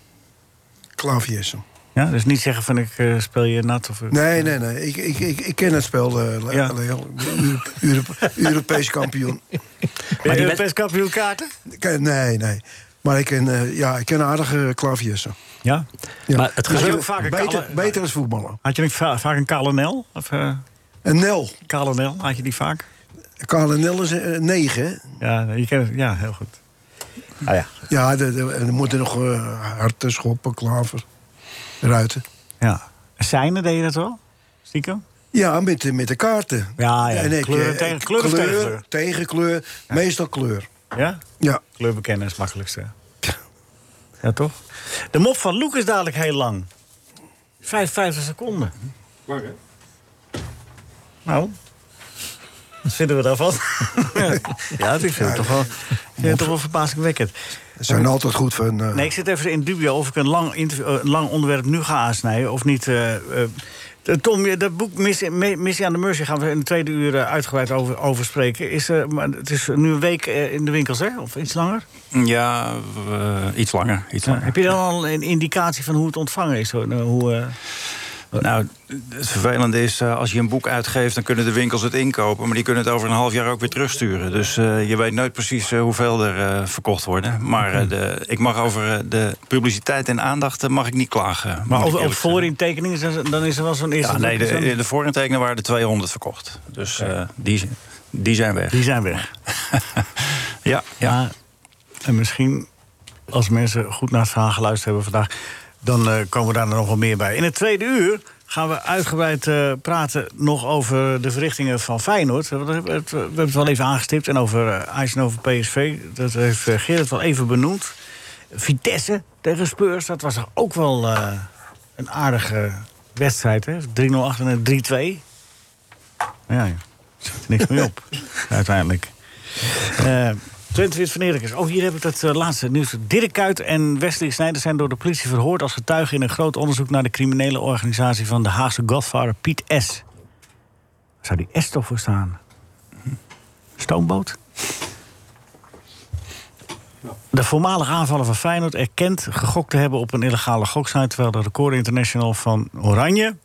klaviessen.
Ja, dus niet zeggen van ik eh, speel je nat of...
Nee, nee, nee. Ik, ik, ik, ik ken het spel, eh, Le-
Ja.
Leo. Euro- Euro- Europees kampioen.
maar die
die
Europees kampioen kaarten?
Ik ken- Nee, nee. Maar ik ken, eh, ja, ik ken aardige klaviessen.
Ja.
Ja.
Maar het
Dus je
gezeur...
ook vaak een
Beter,
kale-
beter als voetballen.
Had je niet va- vaak een kale nel? Of eh
En Nel.
kale nel, had je die vaak?
Karel en Nel is eh, negen. hè?
Ja, je kent het. Ja, heel goed. Ah ja.
Ja, er- er er moeten nog eh, harten, schoppen, klaver, ruiten.
ja. Seinen deed je dat wel? Stiekem?
Ja, met, de- met de kaarten.
Ja, ja.
En ik,
Kleur
eh,
tegen- kleur of
kleur,
tegen kleur?
tegen kleur, meestal kleur.
Ja?
Ja.
Kleur bekennen is het makkelijkste. Ja, toch? De mop van Loek is dadelijk heel lang. 55 seconden. Nou, wat vinden we daarvan? ja, ik vind het toch wel, ik vind het toch wel verbazingwekkend.
Ze zijn altijd goed van... eh,
Nee, ik zit even in dubio of ik een lang, interview- eh, een lang onderwerp nu ga aansnijden of niet. eh, eh. Eh, Tom, je- dat boek Missie, Me- Missie aan de Mercy gaan we in de tweede uur eh, uitgebreid over, over spreken. Is, eh, maar het is nu een week eh, in de winkels, hè? Of iets langer?
Ja, eh, iets langer. Iets langer.
Heb je dan al een indicatie van hoe het ontvangen is? Hoe, hoe, eh,
Nou, het vervelende is, eh, als je een boek uitgeeft... dan kunnen de winkels het inkopen... maar die kunnen het over een half jaar ook weer terugsturen. Dus eh, je weet nooit precies eh, hoeveel er eh, verkocht worden. Maar eh, de, ik mag over eh, de publiciteit en aandacht eh, mag ik niet klagen. moet
maar
ik
over,
eerlijk
over
zeggen.
voorin tekeningen, dan- dan is er wel zo'n eerste...
Ja, nee,
druk,
de, eh,
zo'n-
de voorintekenen waren er 200 verkocht. Dus eh, die, die zijn weg.
Die zijn weg.
Ja, ja.
Maar, en misschien, als mensen goed naar het verhaal geluisterd hebben vandaag... dan eh, komen we daar nog wel meer bij. In het tweede uur gaan we uitgebreid eh, praten nog over de verrichtingen van Feyenoord. We hebben het, we hebben het wel even aangestipt. En over eh, Ajax en over PSV. Dat heeft eh, Gerrit wel even benoemd. Vitesse tegen Spurs, dat was toch ook wel eh, een aardige wedstrijd. hè? 3-0 achter en 3-2. Maar Ja, ja. Er zit niks meer op, uiteindelijk. Eh, Twente Wit van Erikens. Oh, hier heb ik het eh, laatste nieuws. Dirk Kuyt en Wesley Sneijder zijn door de politie verhoord als getuigen in een groot onderzoek naar de criminele organisatie van de Haagse godvader Piet S. Waar zou die S toch voor staan? Stoomboot? De voormalige aanvaller van Feyenoord erkent gegokt te hebben op een illegale goksite... terwijl de record international van Oranje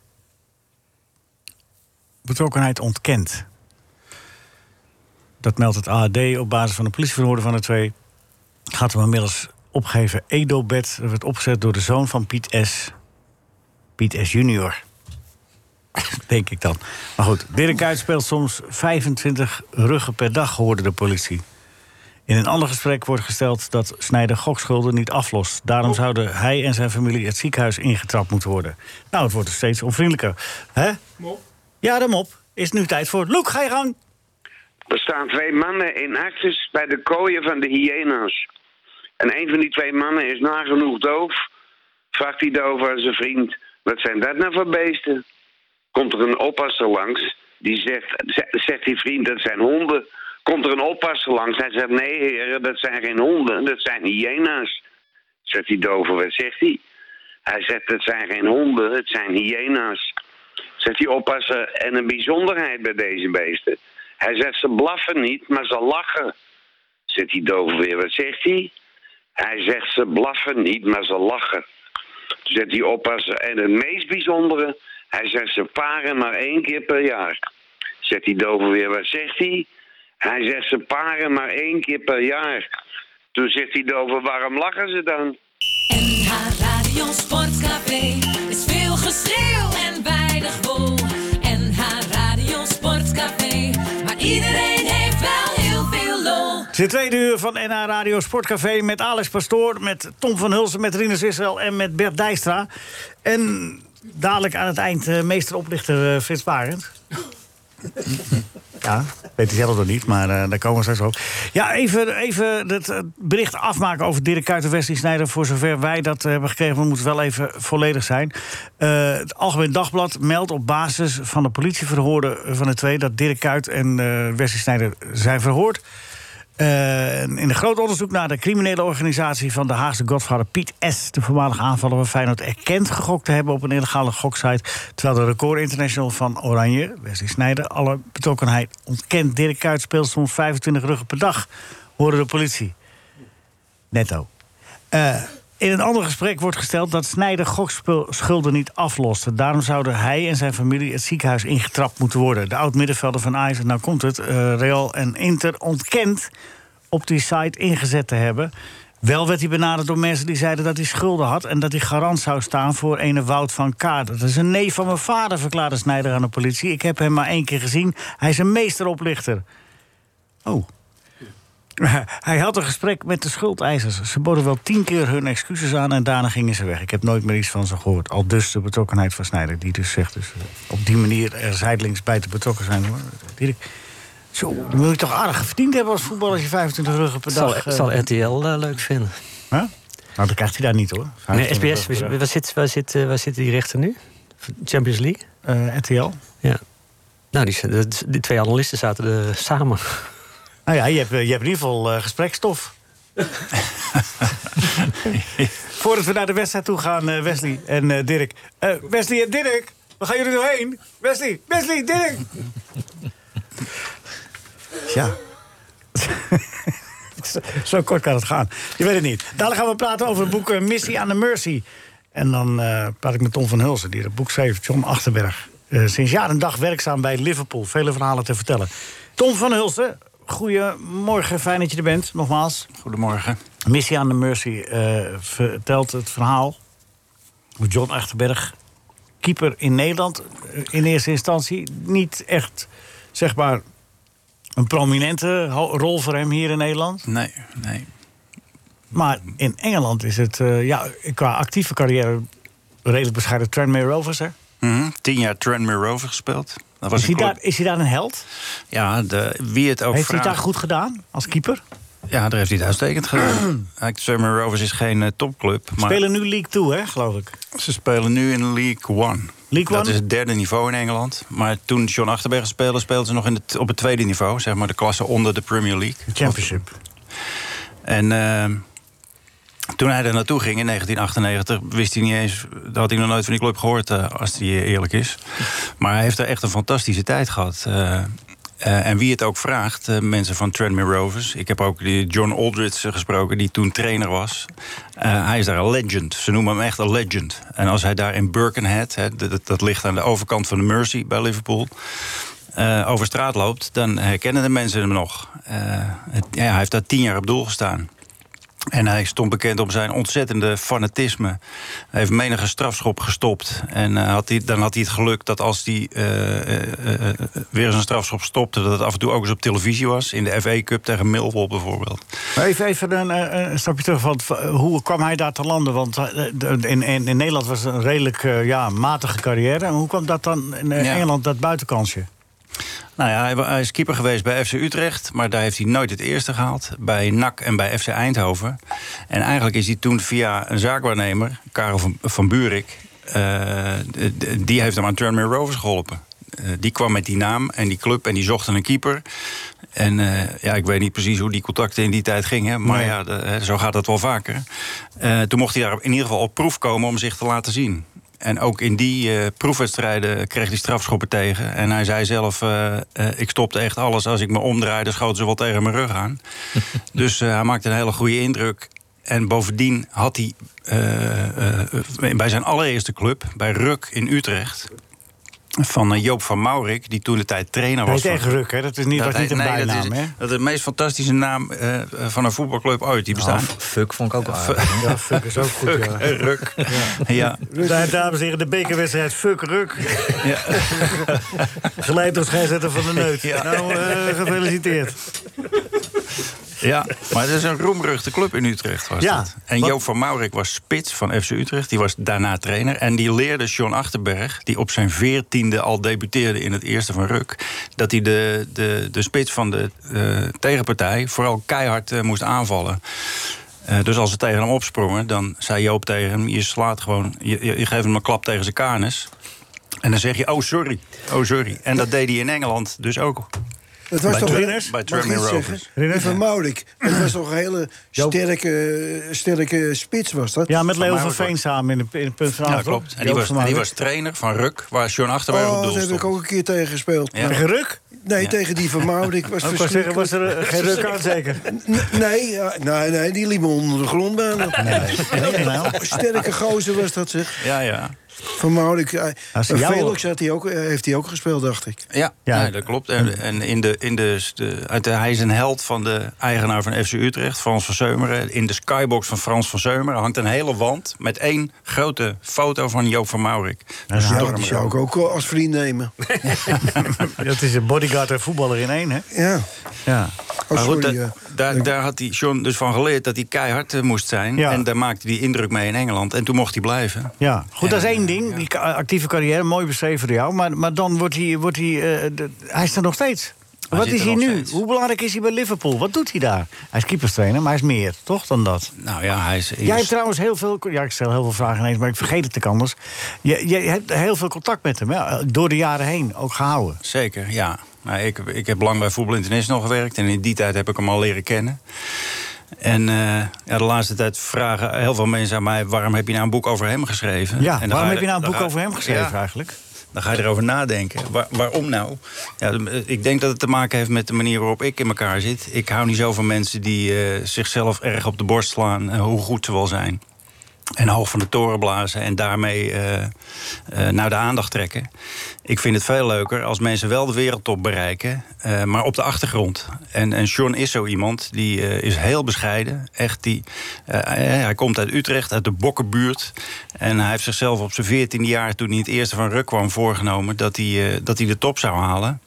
betrokkenheid ontkent. Dat meldt het AD op basis van de politieverhoorden van de twee. Gaat hem inmiddels opgeven. Edobed dat werd opgezet door de zoon van Piet S. Piet S. junior. Denk ik dan. Maar goed, Dirk Kuyt speelt soms 25 ruggen per dag, hoorde de politie. In een ander gesprek wordt gesteld dat Snijder gokschulden niet aflost. Daarom zouden hij en zijn familie het ziekenhuis ingetrapt moeten worden. Nou, het wordt dus steeds onvriendelijker. Hè? Ja, de mop. Is nu tijd voor. Loek, ga je gang!
Er staan twee mannen in actes bij de kooien van de hyena's. En een van die twee mannen is nagenoeg doof. Vraagt die doof aan zijn vriend: Wat zijn dat nou voor beesten? Komt er een oppasser langs, die zegt, z- zegt die vriend: Dat zijn honden. Komt er een oppasser langs, hij zegt: Nee, heren, dat zijn geen honden, dat zijn hyena's. Zegt die dove, wat zegt hij? Hij zegt: Dat zijn geen honden, het zijn hyena's. Zegt die oppasser, en een bijzonderheid bij deze beesten. Hij zegt, ze blaffen niet, maar ze lachen. Zegt die doof weer, wat zegt hij? Hij zegt, eh, ze blaffen niet, maar ze lachen. Zegt die oppasser, en het meest bijzondere... Hij zegt, ze paren maar één keer per jaar. Zegt die dove weer, wat zegt hij? Hij zegt, ze paren maar één keer per jaar. Toen zegt die dove, waarom lachen ze dan?
NH Radio Sportcafé is veel geschreeuw en weinig wol. NH Radio Sportcafé, maar iedereen heeft wel heel veel lol.
Het is de tweede uur van NH Radio Sportcafé met Alex Pastoor... met Tom van Hulsen, met Rinus Israël en met Bert Dijstra. En dadelijk aan het eind eh, meester-oplichter eh, Frits Barend. Ja, weet hij zelf nog niet, maar eh, daar komen we straks op. Ja, even, even het eh, bericht afmaken over Dirk Kuyt en Wesley Sneijder. Voor zover wij dat eh, hebben gekregen, we moeten wel even volledig zijn. Eh, het Algemeen Dagblad meldt op basis van de politieverhoorden eh, van de twee... dat Dirk Kuyt en eh Wesley Sneijder zijn verhoord. Eh, in een groot onderzoek naar de criminele organisatie van de Haagse godvader Piet S. De voormalige aanvaller van Feyenoord erkent gegokt te hebben op een illegale goksite. Terwijl de record international van Oranje, Wesley Snijder, alle betrokkenheid ontkent. Dirk Kuyt speelt soms 25 ruggen per dag, hoorde de politie. Netto. Eh, in een ander gesprek wordt gesteld dat Snijder gokschulden niet afloste. Daarom zouden hij en zijn familie het ziekenhuis ingetrapt moeten worden. De oud-middenvelder van Ajax, en nou komt het, eh, Real en Inter ontkent op die site ingezet te hebben. Wel werd hij benaderd door mensen die zeiden dat hij schulden had... en dat hij garant zou staan voor ene Wout van Kaart. Dat is een neef van mijn vader, verklaarde Snijder aan de politie. Ik heb hem maar één keer gezien. Hij is een meesteroplichter. Oh. Hij had een gesprek met de schuldeisers. Ze boden wel tien keer hun excuses aan en daarna gingen ze weg. Ik heb nooit meer iets van ze gehoord. Al dus de betrokkenheid van Snijder, die dus zegt... Dus eh, op die manier er zijdelings bij te betrokken zijn. hoor. Dirk, Zo, dan moet je toch aardig verdiend hebben als voetballer... als je 25 ruggen per
Zal,
dag... eh,
zal RTL eh, leuk vinden.
hè? Nou, dat krijgt hij daar niet, hoor.
Nee,
25
SBS,
ruggen per
waar, zit, waar, zit, eh, waar zitten die rechten nu? Champions League?
dag. Eh, RTL.
Ja. Nou, die, zijn- dat- die twee analisten zaten er samen.
Nou ja, je hebt, eh, je hebt in ieder geval eh, gesprekstof. Voordat we naar de wedstrijd toe gaan, eh, Wesley en eh, Dirk. Eh, Wesley en Dirk, waar gaan jullie doorheen? Wesley, Wesley, Dirk! ja. Zo kort kan het gaan. Je weet het niet. Dadelijk gaan we praten over het boek eh, Missie aan de Mercy. En dan eh, praat ik met Tom van Hulsen, die dat boek schreef. John Achterberg. Eh, sinds jaar en dag werkzaam bij Liverpool. Vele verhalen te vertellen. Tom van Hulsen, goedemorgen. Fijn dat je er bent, nogmaals.
Goedemorgen.
Missie aan de Mercy eh, vertelt het verhaal. Hoe John Achterberg, keeper in Nederland, eh, in eerste instantie niet echt, zeg maar, een prominente ho- rol voor hem hier in Nederland.
Nee, nee.
Maar in Engeland is het, eh, ja, qua actieve carrière, redelijk bescheiden. Tranmere Rovers, hè?
Mhm. Tien jaar Tranmere Rover gespeeld. Dat was
Is hij,
een club-
daar, is hij daar een held?
Ja, de, wie het ook
Heeft hij
vraagt.
het daar goed gedaan als keeper?
Ja, daar heeft hij het uitstekend gedaan. Eigenlijk, Tranmere Rovers is geen eh, topclub. Maar
Spelen nu League 2, hè, geloof ik.
Ze spelen nu in League One.
League
dat
One?
is het derde niveau in Engeland. Maar toen John Achterberg speelde, speelden ze nog in het, op het tweede niveau. Zeg maar de klasse onder de Premier League.
Championship.
En ehm, toen hij er naartoe ging in 1998, wist hij niet eens. Dat had hij nog nooit van die club gehoord, eh, als hij eerlijk is. Maar hij heeft daar echt een fantastische tijd gehad. Eh, eh, en wie het ook vraagt, eh, mensen van Tranmere Rovers. Ik heb ook die John Aldridge eh, gesproken, die toen trainer was. Eh, hij is daar een legend. Ze noemen hem echt een legend. En als hij daar in Birkenhead, hè, dat, dat- dat ligt aan de overkant van de Mersey bij Liverpool eh, over straat loopt, dan herkennen de mensen hem nog. Eh, het- ja, hij heeft daar tien jaar op doel gestaan. En hij stond bekend om zijn ontzettende fanatisme. Hij heeft menige strafschop gestopt. En eh, had hij, dan had hij het geluk dat als hij eh, eh, eh, eh, weer eens een strafschop stopte... dat het af en toe ook eens op televisie was. In de FA Cup tegen Millwall bijvoorbeeld.
Maar Even, even een, eh, een stapje terug. Want v- hoe kwam hij daar te landen? Want eh, de- in, in, in Nederland was het een redelijk eh, ja, matige carrière. En hoe kwam dat dan in eh,
Ja.
Engeland, dat buitenkansje?
Nou ja, hij wa- hij is keeper geweest bij FC Utrecht, maar daar heeft hij nooit het eerste gehaald. Bij NAC en bij FC Eindhoven. En eigenlijk is hij toen via een zaakwaarnemer, Karel van, van Buurik, eh, d- d- die heeft hem aan Tranmere Rovers geholpen. Eh, die kwam met die naam en die club en die zochten een keeper. En eh, ja, ik weet niet precies hoe die contacten in die tijd gingen. Maar ja, de- hè, zo gaat dat wel vaker. Eh, toen mocht hij daar in ieder geval op proef komen om zich te laten zien. En ook in die eh, proefwedstrijden kreeg hij strafschoppen tegen. En hij zei zelf, eh, eh, ik stopte echt alles. Als ik me omdraaide, schoten ze wel tegen mijn rug aan. dus eh, hij maakte een hele goede indruk. En bovendien had hij eh, eh, bij zijn allereerste club, bij Ruk in Utrecht... Van eh, Joop van Maurik, die toen de tijd trainer
Dat
was.
heet
van-
echt ruk, hè? Dat is niet, was niet een
nee,
bijnaam,
dat is,
hè?
Dat is de meest fantastische naam eh, van een voetbalclub ooit. Die bestaat.
Fuck vond ik ook wel aardig.
Nou, Ja, fuck is ook goed, ja.
Eh, Ruk. Ja.
Daar, dames en heren, de bekerwedstrijd Fuck Ruk. Geleid door scheidsrechter van de Neut. Nou, eh, gefeliciteerd.
Ja, maar het is een roemruchte club in Utrecht. Was
Ja,
dat. En
wat-
Joop van Maurik was spits van FC Utrecht. Die was daarna trainer. En die leerde John Achterberg, die op zijn veertiende al debuteerde in het eerste van Ruk... dat hij de, de, de spits van de eh, tegenpartij vooral keihard eh, moest aanvallen. Eh, dus als ze tegen hem opsprongen, dan zei Joop tegen hem... je slaat gewoon, je, je, je geeft hem een klap tegen zijn karnes... En dan zeg je, oh sorry, oh sorry. En dat deed hij in Engeland dus ook.
Dat was
Bij
toch
Trenners?
mag
Bij
ik
Tremere
iets
Rovers.
zeggen? Die Van Maurik. Dat was toch een hele
Joop.
sterke, sterke spits, was dat?
Ja, met Leo van
Maurik
Veen samen in de- in het punt van
Ja,
aanval.
klopt. En die was, en die was trainer van Ruk, waar John Achterberg op
Oh,
doel
daar heb
stond.
ik ook een keer tegen gespeeld.
Ja.
Maar-
Tegen Ruk?
Nee, tegen die van Maurik was
Ik wou zeggen, was
verschrikkelijk.
er eh, geen ruk aan, zeker?
N- Nee, ja, nee, nee, die liep me onder de grond bijna. Sterke gozer was dat, zeg.
Ja, ja.
Van Maurik. eh,
Als hij jou-
Felix had hij ook, eh, heeft hij ook gespeeld, dacht ik.
Ja,
Ja.
nee, dat klopt. En, en in de, in de, de, uit de- hij is een held van de eigenaar van FC Utrecht, Frans van Zeumeren. In de skybox van Frans van Zeumeren hangt een hele wand met één grote foto van Joop van Maurik. Dus
Ja,
storm
die
er
zou
ook.
ik ook wel als vriend nemen.
Dat is een bodyguard en voetballer in één, hè?
Ja.
Ja.
Oh,
Maar goed,
sorry,
da-
eh.
daar, daar had hij John dus van geleerd dat hij keihard eh, moest zijn.
Ja.
En daar maakte hij indruk mee in Engeland. En toen mocht hij blijven.
Ja, goed, dat is één ding. Die ka- actieve carrière, mooi beschreven door jou. Maar, maar dan wordt hij... Wordt hij, eh, de- hij is er nog steeds.
Hij
Wat
zit
is
er
hij
nog
nu?
steeds.
Hoe belangrijk is hij bij Liverpool? Wat doet hij daar? Hij is keeperstrainer, maar hij is meer, toch, dan dat?
Nou ja, hij is...
Jij hebt trouwens heel veel... Ja, ik stel heel veel vragen ineens, maar ik vergeet het ook anders. Je, je hebt heel veel contact met hem, hè? door de jaren heen, ook gehouden.
Zeker, ja. Nou, ik, ik heb lang bij Voetbal International gewerkt en in die tijd heb ik hem al leren kennen. En eh, ja, de laatste tijd vragen heel veel mensen aan mij: waarom heb je nou een boek over hem geschreven?
Ja,
En dan ga
waarom heb je nou
dan
een boek
ga-
over hem geschreven
Ja,
eigenlijk?
dan ga je erover nadenken. Waar- waarom nou? Ja, de- ik denk dat het te maken heeft met de manier waarop ik in elkaar zit. Ik hou niet zo van mensen die eh, zichzelf erg op de borst slaan, eh, hoe goed ze wel zijn. En hoog van de toren blazen en daarmee eh, eh, naar de aandacht trekken. Ik vind het veel leuker als mensen wel de wereldtop bereiken, eh, maar op de achtergrond. En, en Sean is zo iemand, die eh, is heel bescheiden. Echt die, eh, eh, hij komt uit Utrecht, uit de Bokkenbuurt. En hij heeft zichzelf op zijn veertiende jaar, toen hij het eerste van Ruk kwam, voorgenomen dat hij, eh, dat hij de top zou halen.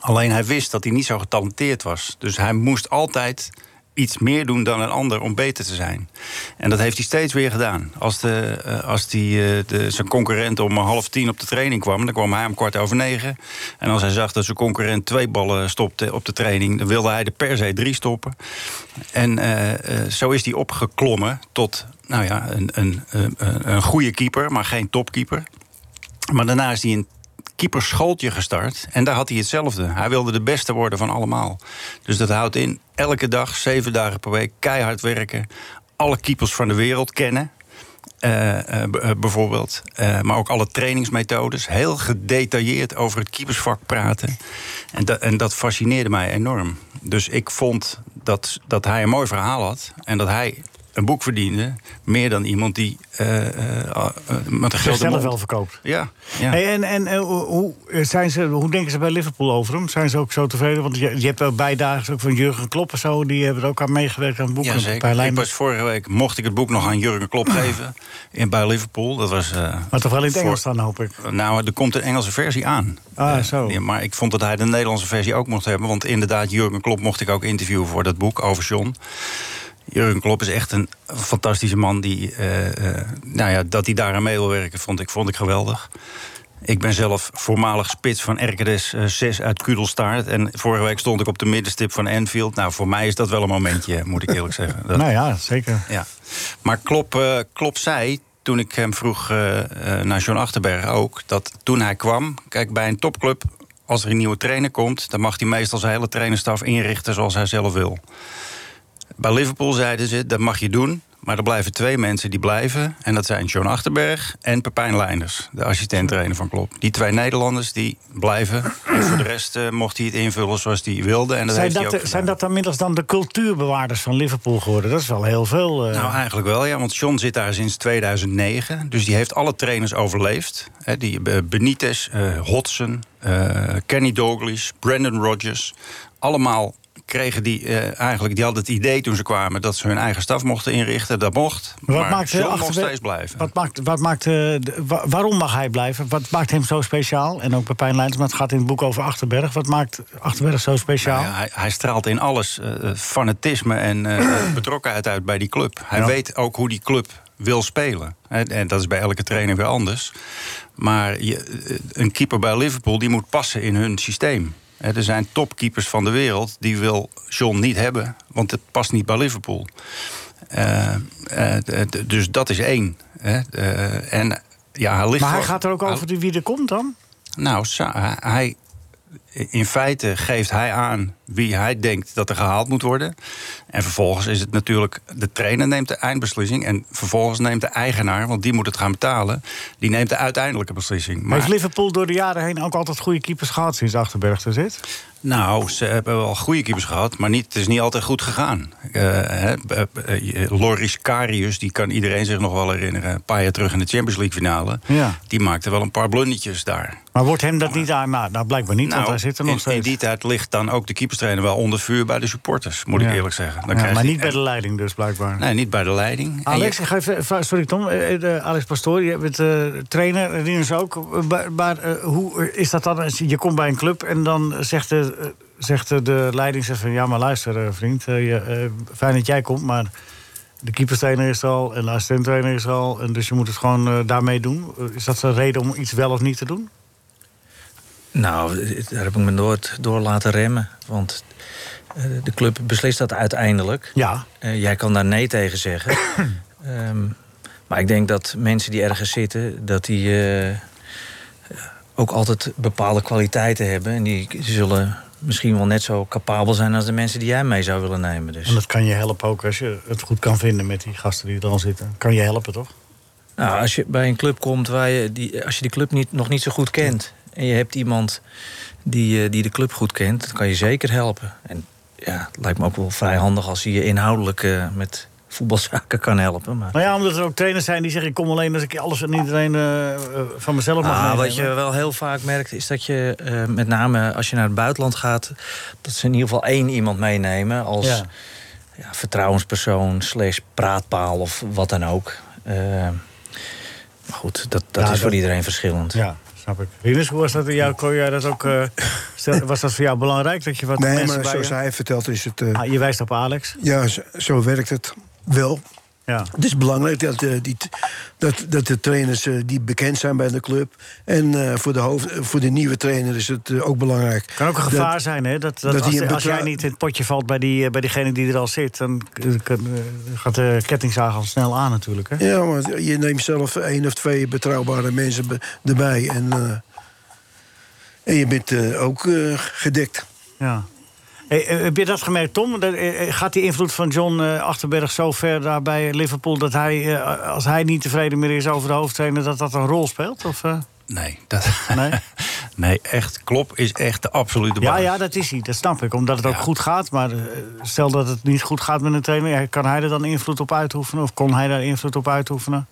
Alleen hij wist dat hij niet zo getalenteerd was. Dus hij moest altijd iets meer doen dan een ander om beter te zijn. En dat heeft hij steeds weer gedaan. Als, de, eh, als die, eh, de, zijn concurrent om half tien op de training kwam... dan kwam hij om kwart over negen. En als hij zag dat zijn concurrent twee ballen stopte op de training... dan wilde hij er per se drie stoppen. En eh, eh, zo is hij opgeklommen tot nou ja, een, een, een, een goede keeper... maar geen topkeeper. Maar daarna is hij een keeperschooltje gestart. En daar had hij hetzelfde. Hij wilde de beste worden van allemaal. Dus dat houdt in elke dag, zeven dagen per week, keihard werken. Alle keepers van de wereld kennen. eh, eh, b- eh, bijvoorbeeld. Eh, maar ook alle trainingsmethodes. Heel gedetailleerd over het keepersvak praten. En, da- en dat fascineerde mij enorm. Dus ik vond dat, dat hij een mooi verhaal had. En dat hij een boek verdiende. Meer dan iemand die eh, eh, eh, met een grote
Zichzelf
mond...
wel verkoopt.
Ja, ja.
Hey, en en eh, hoe- hoe, eh, zijn ze, hoe denken ze bij Liverpool over hem? Zijn ze ook zo tevreden? Want je, je hebt wel bijdagen ook van Jurgen Klopp en zo. Die hebben er ook aan meegewerkt aan het boek.
Ja,
en bij
zeker.
Leijmen.
Ik was vorige week mocht ik het boek nog aan Jurgen Klopp geven in, bij Liverpool. Dat was. eh,
Ah. Maar toch wel in het
voor-
Engels dan, hoop ik.
Nou, er komt een Engelse versie aan.
Ah,
Eh,
zo.
ja, maar ik vond dat hij de Nederlandse versie ook mocht hebben. Want inderdaad, Jurgen Klopp mocht ik ook interviewen voor dat boek over John. Jurgen Klopp is echt een fantastische man. Die, eh, eh, nou ja, dat hij daaraan mee wil werken, vond ik, vond ik geweldig. Ik ben zelf voormalig spits van RKDS eh, 6 uit Kudelstaart. En vorige week stond ik op de middenstip van Enfield. Nou, voor mij is dat wel een momentje, moet ik eerlijk zeggen. Dat-
Nou ja, zeker.
ja. Maar Klop, Klop zei, toen ik hem vroeg eh, eh, naar John Achterberg ook... dat toen hij kwam, kijk, bij een topclub... als er een nieuwe trainer komt... dan mag hij meestal zijn hele trainerstaf inrichten zoals hij zelf wil. Bij Liverpool zeiden ze, dat mag je doen... Maar er blijven twee mensen die blijven. En dat zijn John Achterberg en Pepijn Leinders, de assistent-trainer van Klop. Die twee Nederlanders die blijven. En voor de rest eh, mocht hij het invullen zoals hij wilde. En dat
zijn,
heeft hij
dat,
ook
de- zijn dat dan inmiddels dan de cultuurbewaarders van Liverpool geworden? Dat is wel heel veel. eh.
Nou, eigenlijk wel, ja. Want John zit daar sinds 2009. Dus die heeft alle trainers overleefd. Hè, die eh, Benitez, eh, Hodgson, eh, Kenny Dalglish, Brandon Rodgers. Allemaal kregen die eh, eigenlijk... Die hadden het idee toen ze kwamen dat ze hun eigen staf mochten inrichten. Dat mocht.
wat
maar
maakt eh,
John mocht
Achterberg-
steeds blijven.
Wat maakt, wat maakt, eh, de- wa- waarom mag hij blijven? Wat maakt hem zo speciaal? En ook Pepijn Leijnders, maar het gaat in het boek over Achterberg. Wat maakt Achterberg zo speciaal?
Nou Ja, hij, hij straalt in alles eh, fanatisme en eh, betrokkenheid uit bij die club. Hij weet ook hoe die club wil spelen. En, en dat is bij elke trainer weer anders. Maar je, eh, een keeper bij Liverpool die moet passen in hun systeem. Hè, er zijn topkeepers van de wereld die wil John niet hebben, want het past niet bij Liverpool. Eh, eh, d- d- dus dat is één. Hè. Eh, en ja, hij ligt
maar hij
wel-
gaat er ook
hij-
over die wie er komt dan?
nou, sa- hij- hij, in feite geeft hij aan wie hij denkt dat er gehaald moet worden. En vervolgens is het natuurlijk... De trainer neemt de eindbeslissing... en vervolgens neemt de eigenaar, want die moet het gaan betalen... die neemt de uiteindelijke beslissing.
Heeft
Maar,
Liverpool door de jaren heen ook altijd goede keepers gehad sinds Achterberg er zit?
nou, ze hebben wel goede keepers gehad... maar niet, het is niet altijd goed gegaan. Eh, hè, eh, eh, Loris Karius, die kan iedereen zich nog wel herinneren... een paar jaar terug in de Champions League finale...
Ja.
die maakte wel een paar blundertjes daar...
Maar wordt hem dat niet aan? Nou, nou, blijkbaar niet, want hij zit er nog
in,
steeds.
in die tijd ligt dan ook de keeperstrainer wel onder vuur bij de supporters, moet
Ja.
ik eerlijk zeggen. Dan
Ja,
krijg
maar
je-
niet bij de leiding dus, blijkbaar.
Nee, niet bij de leiding. En
Alex,
je-
ik ga even- va- sorry Tom, eh, eh, Alex Pastoor, je bent eh, trainer, en Rinus ook. Eh, Maar, maar, eh, hoe eh, is dat dan? als Je je komt bij een club en dan zegt de, eh, zegt de- de leiding zegt van... ja, maar luister eh, vriend, eh, je, eh, fijn dat jij komt, maar de keeperstrainer is er al... en de assistenttrainer is er al, en dus je moet het gewoon eh, daarmee doen. Eh, is dat een reden om iets wel of niet te doen?
Nou, daar heb ik me nooit door laten remmen. Want eh, de club beslist dat uiteindelijk.
Ja.
Eh, jij kan daar nee tegen zeggen. Ehm, maar ik denk dat mensen die ergens zitten, dat die eh, ook altijd bepaalde kwaliteiten hebben. En die zullen misschien wel net zo capabel zijn als de mensen die jij mee zou willen nemen. Dus.
En dat kan je helpen ook als je het goed kan vinden met die gasten die er al zitten. Kan je helpen, toch?
Nou, als je bij een club komt waar je die, als je die club niet, nog niet zo goed kent. en je hebt iemand die, eh, die de club goed kent. dan kan je zeker helpen. En ja, het lijkt me ook wel vrij handig als hij je inhoudelijk eh, met voetbalzaken kan helpen. Maar.
Nou ja, omdat er ook trainers zijn die zeggen... ik kom alleen als ik alles en iedereen eh, eh, van mezelf mag
Ah,
meenemen.
wat je wel heel vaak merkt is dat je, eh, met name als je naar het buitenland gaat, dat ze in ieder geval één iemand meenemen als
Ja.
ja. vertrouwenspersoon, slash praatpaal of wat dan ook. Eh, maar goed, dat, dat
Ja,
is voor
Nou, dat-
iedereen verschillend.
Ja, snap ik. Rinus, hoe was dat in jou? Kon jij dat ook, eh, stel- was dat voor jou belangrijk? Dat je wat
Nee,
mensen
maar
bij
zoals
je...
hij vertelt is het... eh,
Ah, je wijst op Alex.
ja, zo, zo werkt het wel.
Ja.
Het is belangrijk dat, eh, die, t- dat, dat de trainers eh, die bekend zijn bij de club. En eh, voor, de hoofd, eh, voor de nieuwe trainer is het eh, ook belangrijk.
Kan ook een gevaar
Dat-
zijn, hè? Dat, dat,
dat
als,
hij een
als jij
betrouw-
niet in het potje valt bij, die, eh, bij diegene die er al zit... dan eh, kan- eh, gaat de kettingzaag al snel aan natuurlijk, hè?
Ja, maar je neemt zelf één of twee betrouwbare mensen be- erbij. En, eh, en je bent eh, ook eh, gedekt.
Ja. Hey, eh, heb je dat gemerkt, Tom? Dat, eh, eh, Gaat die invloed van John eh, Achterberg zo ver daar bij Liverpool... dat hij, eh, als hij niet tevreden meer is over de hoofdtrainer... dat dat een rol speelt? Of, eh?
Nee, dat...
Nee?
nee? echt. Klop is echt de absolute
Ja,
baas.
ja, dat is hij. Dat snap ik. Omdat het ook
Ja.
goed gaat. Maar eh, stel dat het niet goed gaat met een trainer... ja, kan hij er dan invloed op uitoefenen? Of kon hij daar invloed op uitoefenen?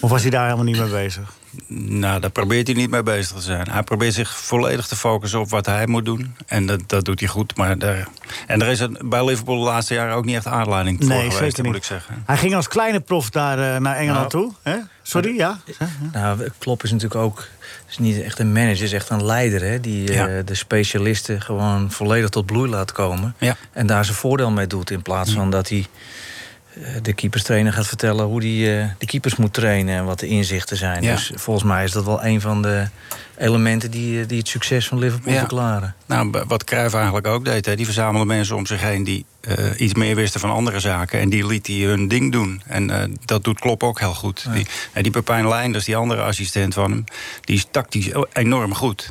Of was hij daar helemaal niet mee bezig?
Nou, daar probeert hij niet mee bezig te zijn. Hij probeert zich volledig te focussen op wat hij moet doen. En dat, dat doet hij goed. Maar daar... En er is een, bij Liverpool de laatste jaren ook niet echt aanleiding voor geweest, moet ik zeggen.
Hij ging als kleine prof daar eh, naar Engeland
Nou.
toe. Hè? Sorry, ja?
Nou, Klopp is natuurlijk ook is niet echt een manager, is echt een leider. Hè, die eh,
Ja.
de specialisten gewoon volledig tot bloei laat komen.
Ja. Mm.
En daar zijn voordeel mee doet. In plaats van dat hij eh, de keeperstrainer gaat vertellen hoe hij eh, de keepers moet trainen en wat de inzichten zijn.
Ja.
Dus volgens mij is dat wel een van de elementen die, eh, die het succes van Liverpool
Ja.
verklaren.
Nou, b- wat Cruijff eigenlijk ook deed. Hè. Die verzamelde mensen om zich heen die eh, iets meer wisten van andere zaken. En die liet hij hun ding doen. En eh, dat doet Klop ook heel goed. Die, en die Pepijn Leinders, die andere assistent van hem... die is tactisch enorm goed.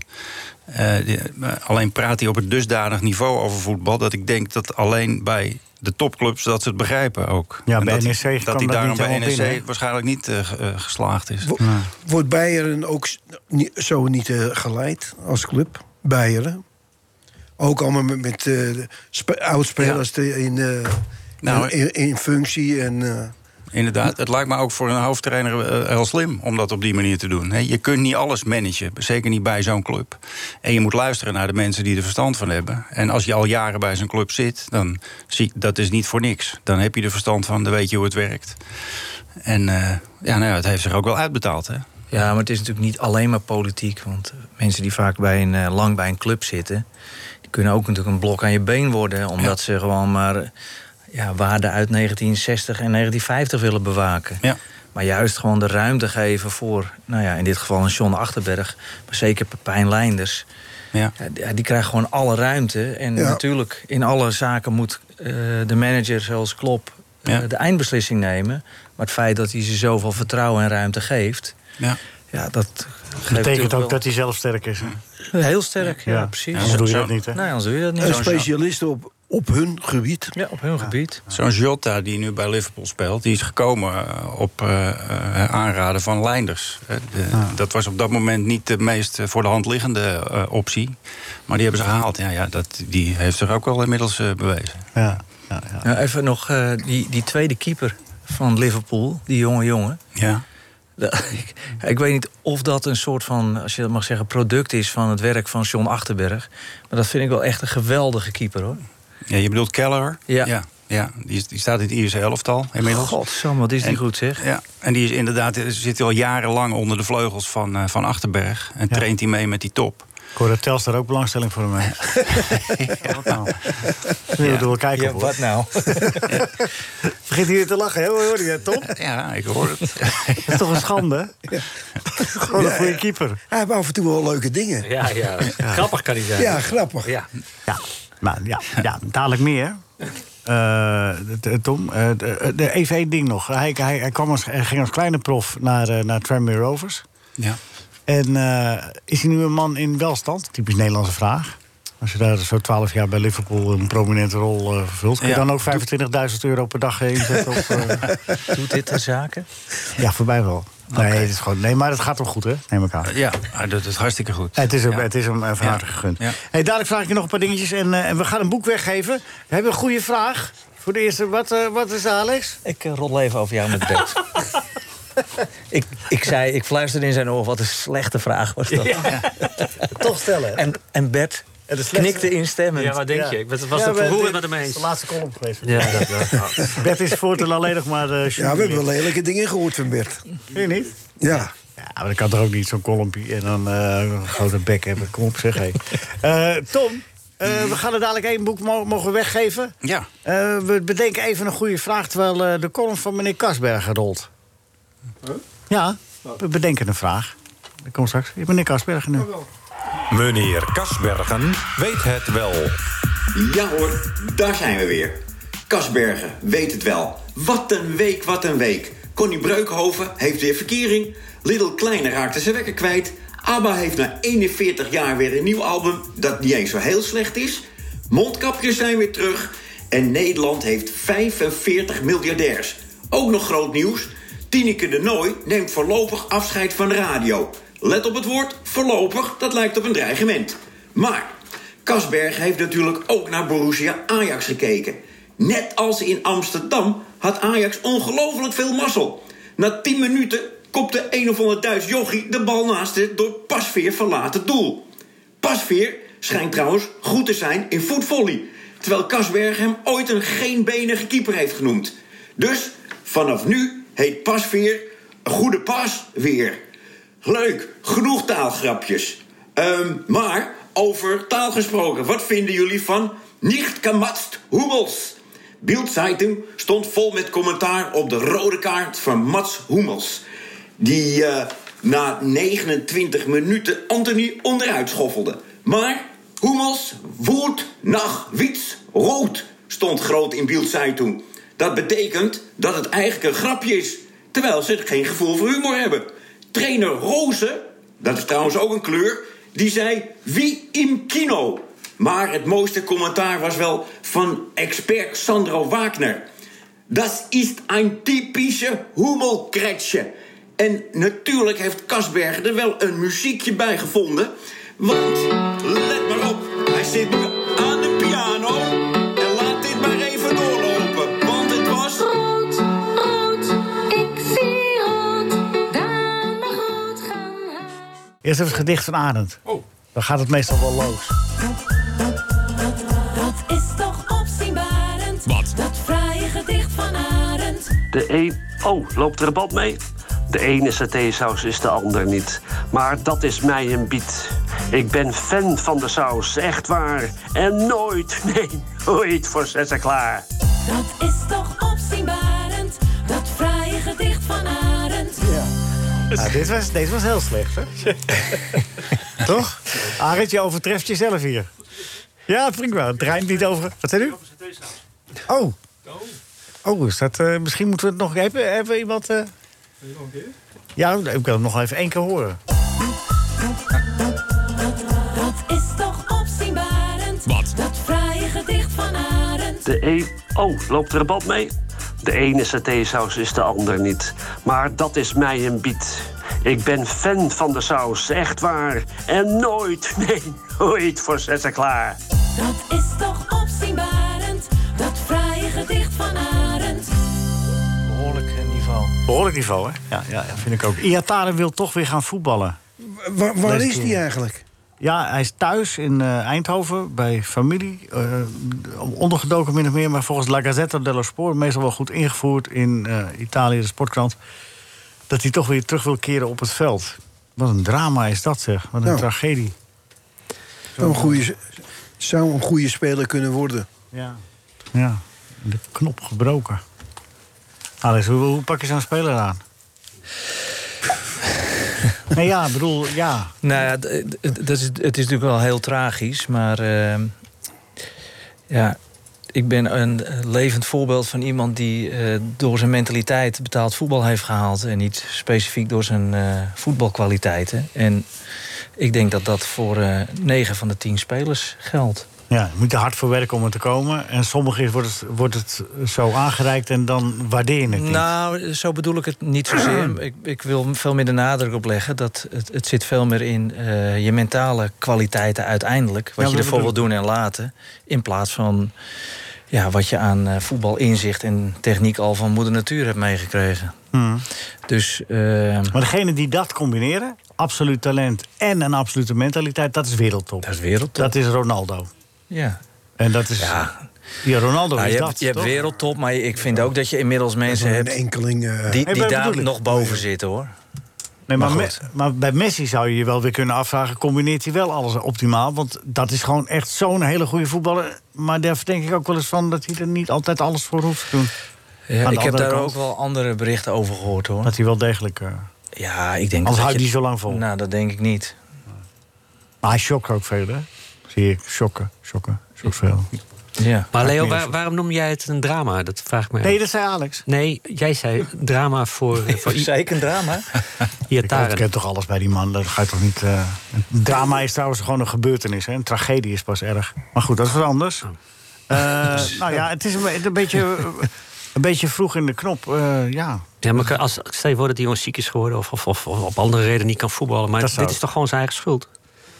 Eh, die- eh, alleen praat hij op het dusdanig niveau over voetbal... dat ik denk dat alleen bij de topclubs dat ze het begrijpen ook.
Ja,
En
bij
dat,
NEC kwam
dat
dat
hij daarom
niet
bij
helemaal
NEC
binnen, hè?
waarschijnlijk niet eh, ge- eh, geslaagd is.
Wo- Wordt Beieren ook s- ni- zo niet eh, geleid als club? Beieren? Ook allemaal met, met eh, spe- oudspelers die in, eh,
Nou,
in, in, in functie. En, eh,
Inderdaad, het lijkt me ook voor een hoofdtrainer eh, heel slim om dat op die manier te doen. hè. Je kunt niet alles managen, zeker niet bij zo'n club. En je moet luisteren naar de mensen die er verstand van hebben. En als je al jaren bij zo'n club zit, dan zie dat is niet voor niks. Dan heb je er verstand van, dan weet je hoe het werkt. En eh, ja, nou ja, het heeft zich ook wel uitbetaald. Hè?
Ja, maar het is natuurlijk niet alleen maar politiek. Want mensen die vaak bij een, eh, lang bij een club zitten... die kunnen ook natuurlijk een blok aan je been worden. Omdat ze gewoon maar eh, ja, waarden uit 1960 en 1950 willen bewaken.
Ja.
Maar juist gewoon de ruimte geven voor... nou ja, in dit geval een John Achterberg... maar zeker Pepijn Leinders...
Ja.
Ja, die, die krijgt gewoon alle ruimte. En
Ja.
natuurlijk, in alle zaken moet eh, de manager, zoals Klop, eh,
Ja.
de eindbeslissing nemen. Maar het feit dat hij ze zoveel vertrouwen en ruimte geeft,
Ja.
ja, dat geeft
betekent
natuurlijk
ook
wel-
dat hij zelf sterk is. hè?
Heel sterk, ja, precies.
Anders doe je
zo-
dat niet, hè?
Nee, anders doe je dat niet.
en
Zo'n-
specialisten op, op hun gebied.
Ja, op hun gebied.
Zo'n Jota die nu bij Liverpool speelt, die is gekomen eh, op eh, eh, aanraden van Leinders. Eh, de-
Ah.
Dat was op dat moment niet de meest eh, voor de hand liggende eh, optie. Maar die hebben ze gehaald. Ja, ja, dat, die heeft zich ook wel inmiddels eh, bewezen.
Ja. Ja, ja.
Nou, even nog eh, die, die tweede keeper van Liverpool, die jonge jongen.
Ja.
Dat- ik, ik weet niet of dat een soort van, als je dat mag zeggen, product is van het werk van John Achterberg. Maar dat vind ik wel echt een geweldige keeper hoor.
ja je bedoelt Keller?
Ja.
ja. ja. Die, is- die staat in het Ierse elftal inmiddels.
Godsam, wat is die
En-
goed zeg.
Ja, en die is inderdaad, eh, zit al jarenlang onder de vleugels van, eh, van Achterberg. En
Ja.
traint hij mee met die top.
Ik hoor dat Telstar ook belangstelling voor hem heeft. Wat nou? Zullen we er wel kijken op, hoor.
nou?
Vergeet hier te lachen, hè? Hoor je dat, Tom?
Ja, ik hoor het.
Dat is toch een schande? hè? Gewoon een goede keeper.
Hij heeft af en toe wel leuke dingen.
Ja, ja. Grappig kan hij zijn.
Ja, grappig.
Ja.
Ja, maar ja, ja dadelijk meer. Eh, t- Tom, eh, de- de- even één ding nog. Hij, hij, hij, kwam als, hij ging als kleine prof naar, eh, naar Tranmere Rovers.
ja.
En eh, is hij nu een man in welstand? Typisch Nederlandse vraag. Als je daar zo 12 jaar bij Liverpool een prominente rol eh, vervult... kun je
Ja.
dan ook 25.000 euro per dag eh, inzetten? op, eh,
Doet dit ter zaken?
ja, voorbij wel. Nee, het is gewoon, nee, maar het gaat hem goed, hè? Neem ik aan.
Ja, hij doet het hartstikke goed.
Het is hem,
Ja.
het is hem eh, van
Ja.
harte gegund.
Ja.
Hey, dadelijk vraag ik je nog een paar dingetjes en, eh, en we gaan een boek weggeven. We hebben een goede vraag. Voor de eerste, wat, eh, wat is Alex?
Ik eh, roddel even over jou met bed. ik, ik zei, ik fluisterde in zijn oor, wat een slechte vraag was dat.
Toch stellen.
En, en Bert
En de slechtste-
knikte instemmend.
Ja, wat denk je? Ik was, was er verroerend met hem
Dat is
eens.
de laatste column geweest.
Ja, dat wel.
Bert is voortaan alleen nog maar eh
Ja, we hebben wel lelijke dingen gehoord van Bert.
Vind je niet?
Ja.
Ja, maar dat kan toch ook niet, zo'n kolompie en dan eh, een grote bek hebben. Kom op, zeg hé. Eh, Tom, eh, we gaan er dadelijk één boek mo- mogen weggeven.
Ja.
Eh, we bedenken even een goede vraag terwijl eh, de column van meneer Kasbergen rolt. Ja, we bedenken een vraag. Ik kom straks. Meneer Kasbergen nu.
Meneer Kasbergen weet het wel.
Ja hoor, daar zijn we weer. Kasbergen weet het wel. Wat een week, wat een week. Connie Breukhoven heeft weer verkering. Little Kleine raakte zijn wekker kwijt. ABBA heeft na 41 jaar weer een nieuw album dat niet eens zo heel slecht is. Mondkapjes zijn weer terug. En Nederland heeft 45 miljardairs. Ook nog groot nieuws. Tineke de Nooi neemt voorlopig afscheid van de radio. Let op het woord voorlopig, dat lijkt op een dreigement. Maar Kasberg heeft natuurlijk ook naar Borussia Ajax gekeken. Net als in Amsterdam had Ajax ongelooflijk veel mazzel. Na 10 minuten kopte een of ander Duits jochie de bal naast het door Pasveer verlaten doel. Pasveer schijnt trouwens goed te zijn in voetvolley... terwijl Kasberg hem ooit een geenbenige keeper heeft genoemd. Dus vanaf nu heet Pasveer een goede pas weer. Leuk, genoeg taalgrapjes. Ehm, maar over taal gesproken, wat vinden jullie van nicht gematst Hummels? Bildzeitung stond vol met commentaar op de rode kaart van Mats Hummels. Die eh, na 29 minuten Anthony onderuit schoffelde. Maar Hummels woert nach wits rood stond groot in Bildzeitung. Dat betekent dat het eigenlijk een grapje is, terwijl ze geen gevoel voor humor hebben. Trainer Rozen, dat is trouwens ook een kleur, die zei wie im kino. Maar het mooiste commentaar was wel van expert Sandro Wagner. Dat is een typische hummelkretsje. En natuurlijk heeft Kasbergen er wel een muziekje bij gevonden. Want, let maar op, hij zit nu aan de piano. En laat dit maar even doorlopen, want het was...
Rood, rood, ik zie rood. Daar mag rood gaan.
Eerst even het gedicht van Arend. Dan gaat het meestal wel los.
Dat is toch opzienbarend? Wat? Dat fraaie gedicht van Arend.
De een... Oh, loopt er een band mee? De ene satésaus is de ander niet. Maar dat is mij een biet. Ik ben fan van de saus, echt waar. En nooit, nee, nooit voor zessen klaar.
Dat is toch opzienbarend? Dat fraaie gedicht van Arend. Ja.
Nou, dit, was, deze was heel slecht, hè? Toch? Arend, je overtreft jezelf hier. Ja, prima. Het rijmt niet over... Wat zei u? Oh. Oh, is dat, eh, misschien moeten we het nog even... Hebben we iemand... eh, Ja, ik wil hem nog even één keer horen.
Dat is toch opzienbarend? Wat? Dat fraaie gedicht van Arend.
De een... Oh, loopt er een band mee? De ene satésaus is de ander niet. Maar dat is mij een biet. Ik ben fan van de saus, echt waar. En nooit, nee, nooit voor zessen klaar.
Dat is toch opzienbarend? Dat fraaie gedicht van Arend.
Behoorlijk niveau.
Behoorlijk eh, niveau, hè? Ja, ja, ja vind ik ook. Iataren wil toch weer gaan voetballen.
Waar, waar
Deze
is die
keer.
eigenlijk?
Ja, hij is thuis in eh, Eindhoven bij familie. eh, ondergedoken min of meer, maar volgens La Gazzetta dello Sport... meestal wel goed ingevoerd in eh, Italië, de sportkrant... dat hij toch weer terug wil keren op het veld. Wat een drama is dat, zeg. Wat een
Nou.
tragedie.
Zo'n goede, zou een goede speler kunnen worden.
Ja. Ja, de knop gebroken. Alex, hoe, hoe pak je zo'n speler aan? nee, ja, ik bedoel, ja.
Nou ja, d- d- d- dat is, het is natuurlijk wel heel tragisch, maar ehm, ja, ik ben een levend voorbeeld van iemand die eh, door zijn mentaliteit betaald voetbal heeft gehaald en niet specifiek door zijn eh, voetbalkwaliteiten. En ik denk dat dat voor eh 9 van de 10 spelers geldt.
Ja, je moet er hard voor werken om er te komen. En sommigen wordt het, wordt het zo aangereikt en dan waardeer je het niet.
Nou, zo bedoel ik het niet zozeer. ik, ik wil veel meer de nadruk op leggen dat het, het zit veel meer in eh, je mentale kwaliteiten uiteindelijk. Wat
Ja,
je
dat
ervoor wil
bedoel-
doen en laten. In plaats van ja, wat je aan eh, voetbal inzicht en techniek al van moeder natuur hebt meegekregen. Dus,
Maar degene die dat combineren, absoluut talent en een absolute mentaliteit, dat is wereldtop. Dat
is wereldtop.
Dat is Ronaldo.
Ja.
En dat is.
Ja.
Ja, Ronaldo
Nou,
is
je
dat.
hebt, je hebt
toch?
wereldtop, maar ik vind ook dat je inmiddels mensen
een
hebt
enkeling, eh,
die,
Nee,
die
maar bedoel
daar
ik.
nog boven zitten hoor.
Nee, maar,
maar
me-
goed.
maar bij Messi zou je je wel weer kunnen afvragen: combineert hij wel alles optimaal? Want dat is gewoon echt zo'n hele goede voetballer. Maar daar denk ik ook wel eens van dat hij er niet altijd alles voor hoeft te doen.
Ja,
Aan de
ik heb
andere
daar
kant-
ook wel andere berichten over gehoord hoor.
Dat hij wel degelijk. eh,
Ja, ik denk
Anders
dat
houdt
je-
die zo lang vol.
Nou, dat denk ik niet.
maar hij shock ook veel, hè? Zie ik. Shocken, shocken, shock veel.
Ja.
Maar
Maakt
Leo,
niet
waar-
uit.
waarom noem jij het een drama? Dat vraag ik me.
Nee,
af.
dat zei Alex.
nee, jij zei drama voor, voor I-
Zeker een drama.
Ik
Iataren.
ken toch alles bij die man. Dat ga je toch niet. eh, een Drama is trouwens gewoon een gebeurtenis. Hè? Een tragedie is pas erg. Maar goed, dat is wat
Oh.
anders. Eh, nou ja, het is een, be- een beetje, een beetje vroeg in de knop. eh, ja.
Ja, maar als, stel je voor dat die jongen ziek is geworden... of, of, of, of op andere reden niet kan voetballen. Maar
Dat
dit
zou-
is toch gewoon zijn eigen schuld?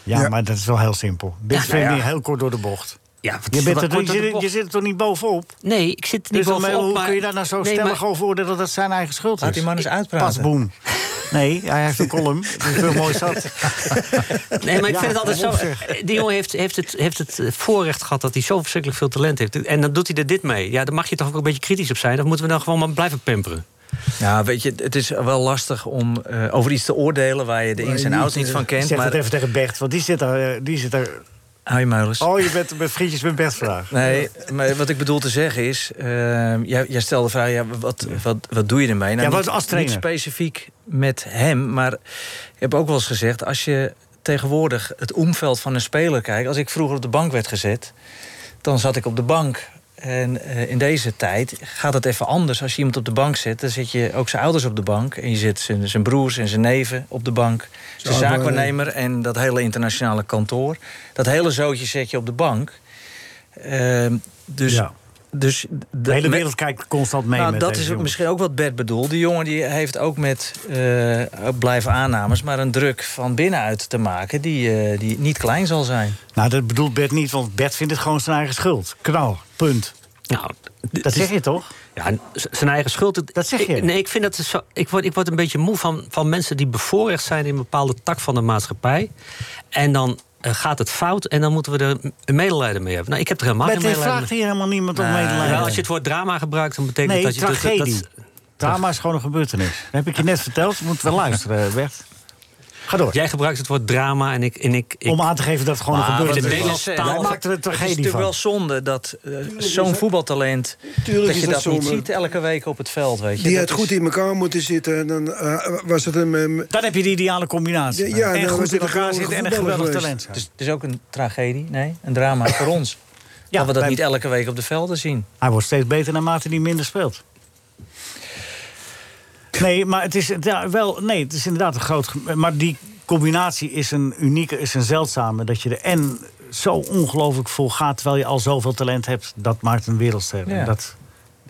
Ja,
Ja.
maar dat is wel heel simpel. Dit
Ja,
vind ik
nou ja.
heel kort door de bocht.
Ja, wat
Je,
is
bent
dat
er,
kort
je,
door de
zit- je
bocht?
zit er toch niet bovenop?
Nee, ik zit er niet
Dus dan,
bovenop.
hoe
maar-
kun je daar nou zo
Nee,
stellig
maar-
over worden dat dat zijn eigen schuld is?
Laat die man eens uitpraten.
Pas boem. Nee, hij heeft een column. Dat is heel mooi zat.
Nee, maar ik
Ja,
vind het altijd zo. eh,
waarom zeg?
Die jongen heeft, heeft, het, heeft het eh, voorrecht gehad dat hij zo verschrikkelijk veel talent heeft. En dan doet hij er dit mee. Ja, daar mag je toch ook een beetje kritisch op zijn. Dan moeten we dan gewoon maar blijven pamperen.
Ja, weet je, het is wel lastig om eh, over iets te oordelen waar je de ins en outs niet van
Ik
kent.
zeg het
Maar
even tegen Bert, want die zit daar. eh, Die zit daar
hou je muilens.
oh, je bent met vriendjes met Bert vandaag.
Nee, maar wat ik bedoel te zeggen is, eh, jij, jij stelde de vraag, ja, wat, wat, wat doe je ermee? Nou,
Ja, wat
niet-
als trainer?
Niet specifiek met hem, maar ik heb ook wel eens gezegd, als je tegenwoordig het omveld van een speler kijkt, als ik vroeger op de bank werd gezet, dan zat ik op de bank. En eh, in deze tijd gaat het even anders. Als je iemand op de bank zet, dan zet je ook zijn ouders op de bank. En je zet zijn, zijn broers en zijn neven op de bank. Zijn
ouder-
zaakwaarnemer en dat hele internationale kantoor. Dat hele zootje zet je op de bank. Ehm, dus...
Ja.
Dus
De hele wereld kijkt constant mee.
nou,
met
dat
deze
is
jongens.
misschien ook wat Bert bedoelt. Die jongen die heeft ook met eh, blijven aannames, maar een druk van binnenuit te maken die, eh, die niet klein zal zijn.
Nou, dat bedoelt Bert niet, want Bert vindt het gewoon zijn eigen schuld. Knal, punt.
Nou,
dat zeg je toch?
Ja, en z- zijn eigen schuld. het-
Dat zeg je.
Ik, nee, ik, vind dat zo, ik, word, ik word een beetje moe van, van mensen die bevoorrecht zijn in een bepaalde tak van de maatschappij. En dan eh, gaat het fout en dan moeten we er een medelijden mee hebben. Nou, ik heb er helemaal
Met
geen
dit
medelijden
vraagt hier helemaal niemand om
Nee.
medelijden.
Wel, als je het woord drama gebruikt, dan betekent
Nee,
dat je... dat- dat-
tragedie.
dat-
Drama is gewoon een gebeurtenis. Dat heb ik je net verteld. Je moet wel luisteren, Bert. Ga door.
Eh, Jij gebruikt het woord drama en ik... En ik, ik
Om aan te geven dat het gewoon een
Maar
gebeurtenis
in de
is.
Nederlandse
Jij
taal-
maakt er een
Het is
tragedie
natuurlijk
van.
wel zonde dat eh, zo'n voetbaltalent...
Tuurlijk
dat
is
je
dat
dat, niet
zonde.
ziet elke week op het veld. Weet je.
Die
Dat
had
is-
goed in elkaar moeten zitten. En dan eh, was het een... ehm,
Dan heb je de ideale combinatie.
Ja, nou, ja,
en
dan was
goed
dit
in
een
elkaar
geweldige
zitten en een
voetballer
geweldig talent.
geweest.
Het is, Dus het is ook een tragedie, nee, een drama voor ons. dat we dat
wij-
niet elke week op de velden zien.
Hij wordt steeds beter naarmate hij minder speelt. Nee, maar het is, ja, wel, nee, het is inderdaad een groot... ge- Maar die combinatie is een unieke, is een zeldzame. Dat je er en zo ongelooflijk vol gaat... terwijl je al zoveel talent hebt. Dat maakt een wereldster. En
Ja.
Dat,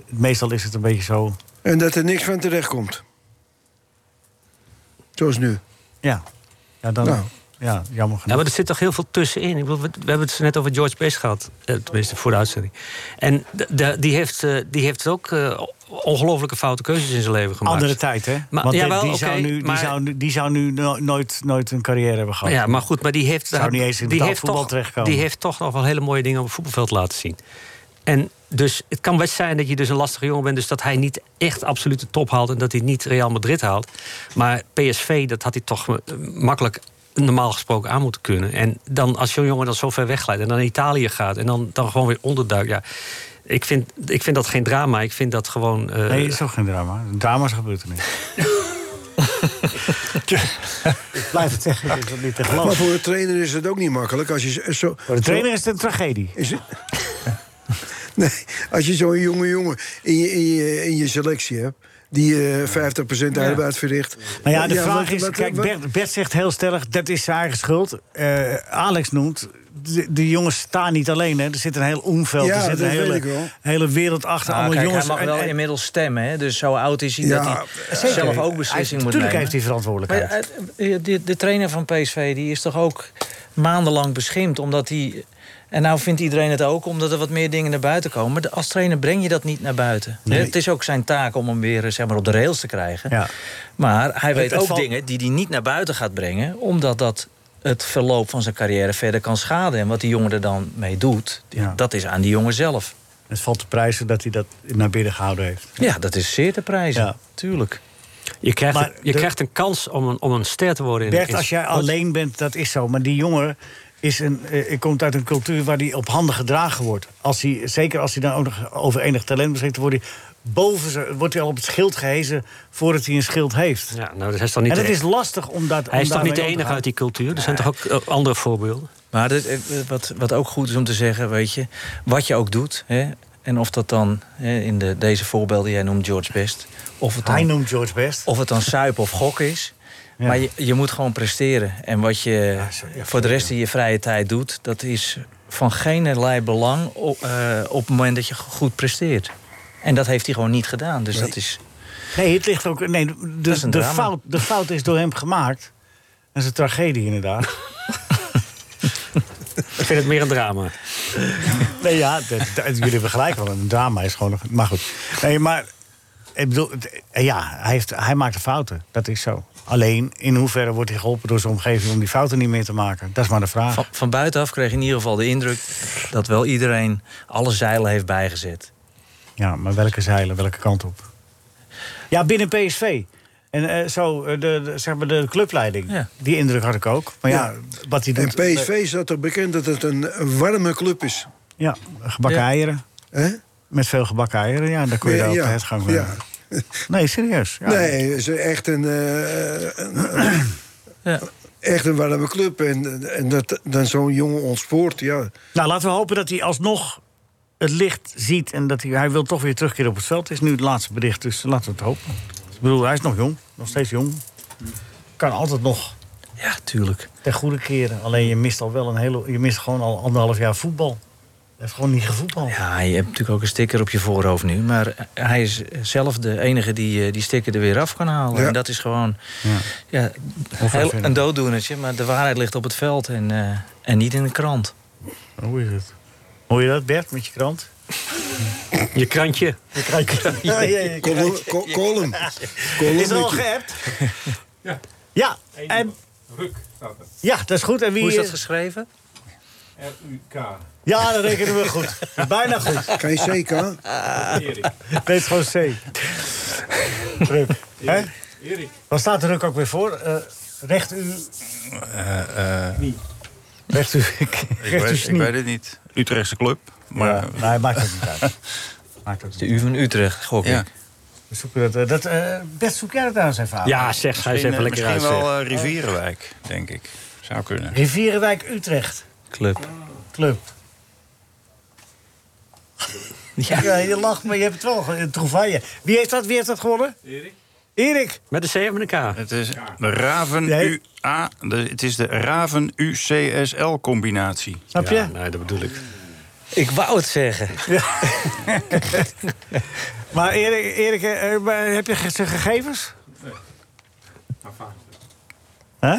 meestal is het een beetje zo...
En dat er niks van terecht komt. Zoals nu.
Ja, ja dan...
Nou.
Ja, jammer genoeg.
Ja, maar er zit toch heel veel tussenin. Ik bedoel, we, we hebben het net over George Best gehad. eh, tenminste, voor de uitzending. En d- d- die, heeft, eh, die heeft ook eh, ongelofelijke foute keuzes in zijn leven gemaakt.
Andere tijd, hè?
Maar-
Want die-
jawel,
die,
oké,
zou nu,
maar-
die, zou nu, die zou nu no- nooit, nooit een carrière hebben gehad.
Ja, maar goed, maar die heeft,
Zou niet eens in
die
betaald
heeft
voetbal
toch,
terechtkomen.
Die heeft toch nog wel hele mooie dingen op het voetbalveld laten zien. En dus het kan best zijn dat je dus een lastige jongen bent. Dus dat hij niet echt absoluut de top haalt. En dat hij niet Real Madrid haalt. Maar PSV, dat had hij toch eh, makkelijk normaal gesproken aan moeten kunnen. En dan als zo'n jongen dan zo ver wegglijdt. En dan naar Italië gaat. En dan, dan gewoon weer onderduikt. Ja, ik vind, ik vind dat geen drama. Ik vind dat gewoon... eh,
Nee, is ook geen drama. Drama's gebeurt er niet. Blijf het zeggen, dat is dat niet te geloven.
Maar voor de trainer is het ook niet makkelijk. Als je z- zo,
Voor de trainer is het een tragedie.
Is het- nee, als je zo'n jonge jongen in je, in je, in je selectie hebt... die eh, 50% arbeid verricht.
Nou ja, de vraag
wat-
is,
wat-
kijk,
wat-
Bert, Bert zegt heel stellig, dat is zijn eigen schuld. Eh, Alex noemt, de, de jongens staan niet alleen. Hè. Er zit een heel omveld,
Ja,
er zit
dat
een
weet
hele,
ik wel.
hele wereld achter.
Nou,
allemaal
kijk,
jongens.
hij mag
En-
wel
en-
inmiddels stemmen, hè? dus zo oud is hij dat
Ja,
hij
zeker.
zelf ook
Hij-
beslissing moet nemen.
tuurlijk heeft hij verantwoordelijkheid.
eh, Maar, eh, eh, de, de trainer van PSV die is toch ook maandenlang beschimd, omdat hij... En nou vindt iedereen het ook, omdat er wat meer dingen naar buiten komen. Maar de- als trainer breng je dat niet naar buiten. hè? Het is ook zijn taak om hem weer eh, zeg maar, op de rails te krijgen. Maar hij weet
het
ook
valt-
dingen die hij niet naar buiten gaat brengen... omdat dat het verloop van zijn carrière verder kan schaden. En wat die jongen er dan mee doet, dat is aan die jongen zelf.
Het valt te prijzen dat hij dat naar binnen gehouden heeft.
Ja, dat is zeer te prijzen, tuurlijk.
je krijgt,
Maar
je
de-
krijgt een kans om een, om een ster te worden. In,
Bert,
in-
als jij alleen bent, dat is zo. Maar die jongen is een, eh, komt uit een cultuur waar hij op handen gedragen wordt. Als hij, zeker als hij dan ook nog over enig talent beschikt, wordt hij, boven zijn, wordt hij al op het schild gehezen voordat hij een schild heeft.
Ja, nou, dat is dan niet
en
de-
het is lastig om dat.
Hij is
om
toch niet
daarmee om
de
te
enige
gaan.
uit die cultuur? Er zijn toch ook eh, andere voorbeelden?
Maar dit, eh, wat, wat ook goed is om te zeggen, weet je, wat je ook doet, hè, en of dat dan hè, in de, deze voorbeelden die jij noemt George Best, of het dan,
Hij noemt George Best.
of het dan suipen of gokken is. Maar je, je moet gewoon presteren. En wat je voor de rest van je vrije tijd doet, dat is van geen belang op, eh, op het moment dat je goed presteert. En dat heeft hij gewoon niet gedaan. Dus dat is.
Nee, het ligt ook. Nee,
Dat
de,
is een
de,
drama.
fout, de fout is door hem gemaakt. Dat is een tragedie, inderdaad.
Ik vind het meer een drama.
Nee, ja, dat, dat- jullie hebben gelijk, want een drama is gewoon... een- Maar goed. Nee, maar... Ik bedoel, het- ja, hij, heeft, hij maakt de fouten. Dat is zo. Alleen, in hoeverre wordt hij geholpen door zijn omgeving... om die fouten niet meer te maken? Dat is maar de vraag.
Van, van buitenaf kreeg je in ieder geval de indruk dat wel iedereen alle zeilen heeft bijgezet.
Ja, maar welke zeilen, welke kant op? Ja, binnen PSV. En eh, zo, eh, de, de- zeg maar de clubleiding. Die indruk had ik ook. Maar ja, wat hij
En
doet...
PSV staat toch bekend dat het een warme club is.
Ja, gebakken
Ja.
eieren. Met veel gebakken eieren, ja. En daar kon je
Ja,
daar op
ja.
de headgang mee.
Ja.
Nee, serieus. Ja.
nee, het is echt een... eh, een- Echt een warme club. En, en dat dan zo'n jongen ontspoort, ja.
Nou, laten we hopen dat hij alsnog het licht ziet en dat hij, hij wil toch weer terugkeren op het veld. Het is nu het laatste bericht, dus laten we het hopen. Ik bedoel, hij is nog jong, nog steeds jong. Kan altijd nog.
Ja, tuurlijk.
Ten goede keren. Alleen je mist al wel een hele, je mist gewoon al anderhalf jaar voetbal. Hij heeft gewoon niet gevoetbald.
Ja, Ah, je hebt natuurlijk ook een sticker op je voorhoofd nu. Maar hij is zelf de enige die eh, die sticker er weer af kan halen.
Ja.
En dat is gewoon ja.
Of
heel-
even-
een dooddoenertje. Maar de waarheid ligt op het veld en, eh, en niet in de krant.
Hoe is het? Hoor je dat, Bert, met je krant?
Je krantje.
Je krantje. Ja, ja, je krantje.
Column.
Is er al
Columnetje.
geappt? Ja. Ja, en,
Ruk staat er.
ja, dat is goed. En wie
Hoe is dat
eh,
geschreven?
R-U-K.
Ja, dat rekenen we goed. Bijna goed.
Geen C, kan?
Erik.
Nee, het is gewoon C. Ruk. Hè?
Erik.
Wat staat de ruk ook weer voor? Eh, recht u...
Eh, eh,
Recht u...
ik,
recht u
weet, ik
snie.
weet het niet. Utrechtse club. Maar,
Nee, maakt het niet uit. Maakt ook
De U van Utrecht, gok
Ja.
ik.
We zoeken dat... eh, dat eh, Bert, zoek jij dat aan zijn vader?
Misschien, eh, Misschien wel eh, Rivierenwijk, denk ik. Zou kunnen.
Rivierenwijk Utrecht.
Club.
Club. Ja. je lacht, maar je hebt het wel ge- een trouvaille. Wie heeft dat, wie heeft dat gewonnen? Erik. Erik.
Met de C of met een K?
Het is de Raven
Nee.
UA. de- het is de Raven UCSL combinatie.
Snap je? Ja,
nee, dat bedoel ik.
Ik wou het zeggen.
Maar Erik, Erik eh, eh, maar heb je ge- zijn gegevens? Hè?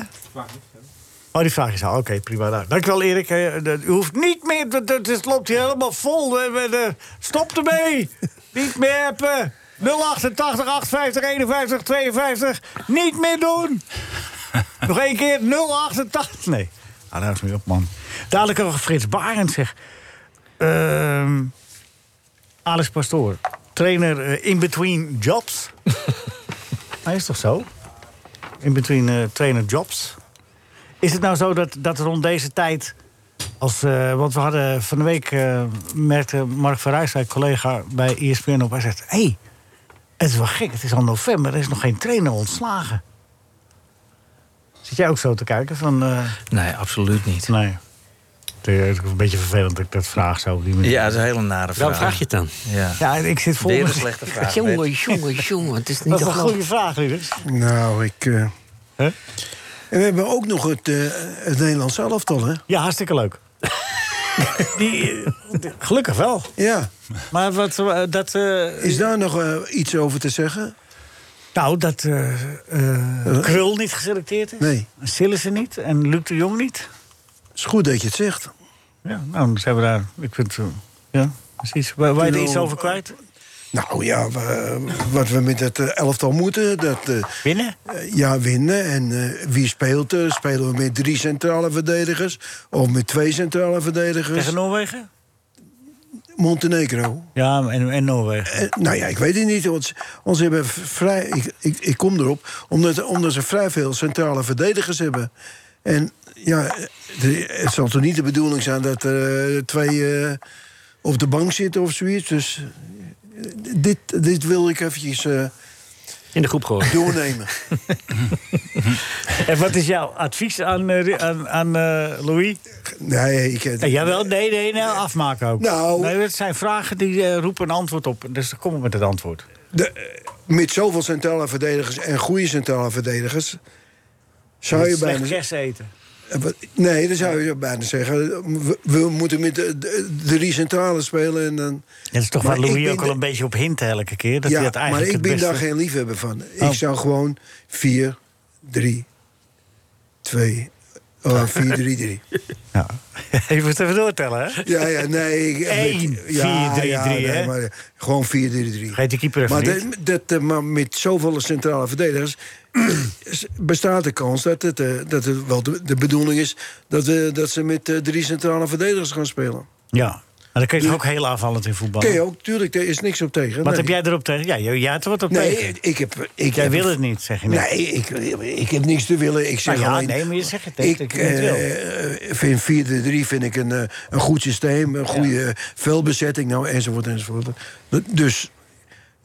Oh, die vraag is al. Oké, prima. Nou, dankjewel, Erik. Eh, dat- U hoeft niet meer... dat- dat- Het loopt hier helemaal vol. Eh, we- de- Stop ermee. niet meer appen. 088 58 51 52. Niet meer doen. Nog één keer 088. Nee. Ah, daar is nu op, man. Dadelijk nog Frits Barend, zeg. Ehm Alex Pastoor, trainer eh, in between jobs. Hij is toch zo? In between eh, trainer jobs. Is het nou zo dat, dat rond deze tijd... Als, eh, want we hadden van de week, eh, merkte Mark van Rijswijk, collega bij E ESPN op... Hij zegt, hé, hey, het is wel gek, het is al november, er is nog geen trainer ontslagen. Zit jij ook zo te kijken? Van, eh,
Nee, absoluut niet.
Nee. Het is een beetje vervelend dat ik dat vraag zo op die manier.
Ja, dat is een hele nare vraag.
Welke vraag je het dan?
Ja.
Ja, ik zit vol
Weer een
met-
slechte vraag.
Jongen,
Bert.
jongen, jongen, het is niet Dat is te een geloven. goede vraag, Lucas.
Nou, ik... eh, En we hebben ook nog het, eh het Nederlands elftal, hè?
Ja, hartstikke leuk. Die, eh, gelukkig wel.
Ja.
Maar wat, eh, dat... eh,
Is daar nog eh, iets over te zeggen?
Nou, dat eh, eh, Krul niet geselecteerd is.
Nee.
Sillissen niet en Luc de Jong niet.
is goed dat je het zegt.
Ja, nou, dan zijn we daar... Ik vind, eh, ja, precies. Waar waar je er
Krul-
iets over kwijt?
Nou ja, wa- wat we met het eh, elftal moeten. Dat, eh,
winnen?
ja, winnen. En eh, wie speelt er? Spelen we met drie centrale verdedigers? Of met twee centrale verdedigers?
Tegen Noorwegen?
Montenegro.
Ja, en, en Noorwegen.
Eh, nou ja, ik weet het niet. Want ons hebben v- vrij. Ik, ik, ik kom erop. Omdat, omdat ze vrij veel centrale verdedigers hebben. En ja, de- het zal toch niet de bedoeling zijn dat er eh, twee eh, op de bank zitten of zoiets. Dus eh, dit, dit wil ik eventjes eh,
In de groep gewoon.
doornemen.
En wat is jouw advies aan, eh, Ri- aan, aan eh, Louis?
Nee, ik... eh,
Ja, jawel, nee, nee, nee, afmaken ook.
Nou-
Nee, dat zijn vragen die eh, roepen een antwoord op. Dus dan kom ik met het antwoord.
De, eh, met zoveel centrale verdedigers en goede centrale verdedigers. Zou je
Met
bijna.
slecht kerst eten.
Eh, wat- Nee, dan zou je bijna zeggen. We, we moeten met de, de- drie centrale spelen en dan.
Dat is toch
Maar
waar
ik
Louis
ben
ook al
de-
een beetje op hint elke keer. Dat hij dat
maar
eigenlijk
ik ben
het beste...
daar geen liefhebber van.
Oh.
Ik zou gewoon 4, 3, 2. Oh, 4, 3, 3.
Je moet even doortellen, hè?
Ja, ja, nee. Ik,
1, 4, 3, 3, hè?
maar, eh, Gewoon 4, 3, 3.
Geet de keeper even
Maar,
niet.
dat, dat, eh, maar met zoveel centrale verdedigers is- bestaat de kans dat het, eh, dat het wel de, de bedoeling is dat, we dat ze met eh, drie centrale verdedigers gaan spelen.
Ja, maar dan kun je toch ook heel aanvallend in voetbal.
Ken je ook, tuurlijk, daar is niks op tegen.
Wat
nee.
heb jij erop tegen? Ja, jij jij had er wat op
Nee,
tegen.
ik heb... Ik
jij
heb-
wil het niet, zeg je net.
Nee, ik, ik heb niks te willen. Ik zeg
Nou ja,
alleen,
nee, maar je zegt het tegen
ik
dat je het wil.
eh, vind 4-3 vind ik een, eh, een goed systeem, een goede velbezetting, nou, enzovoort, enzovoort. Dat- Dus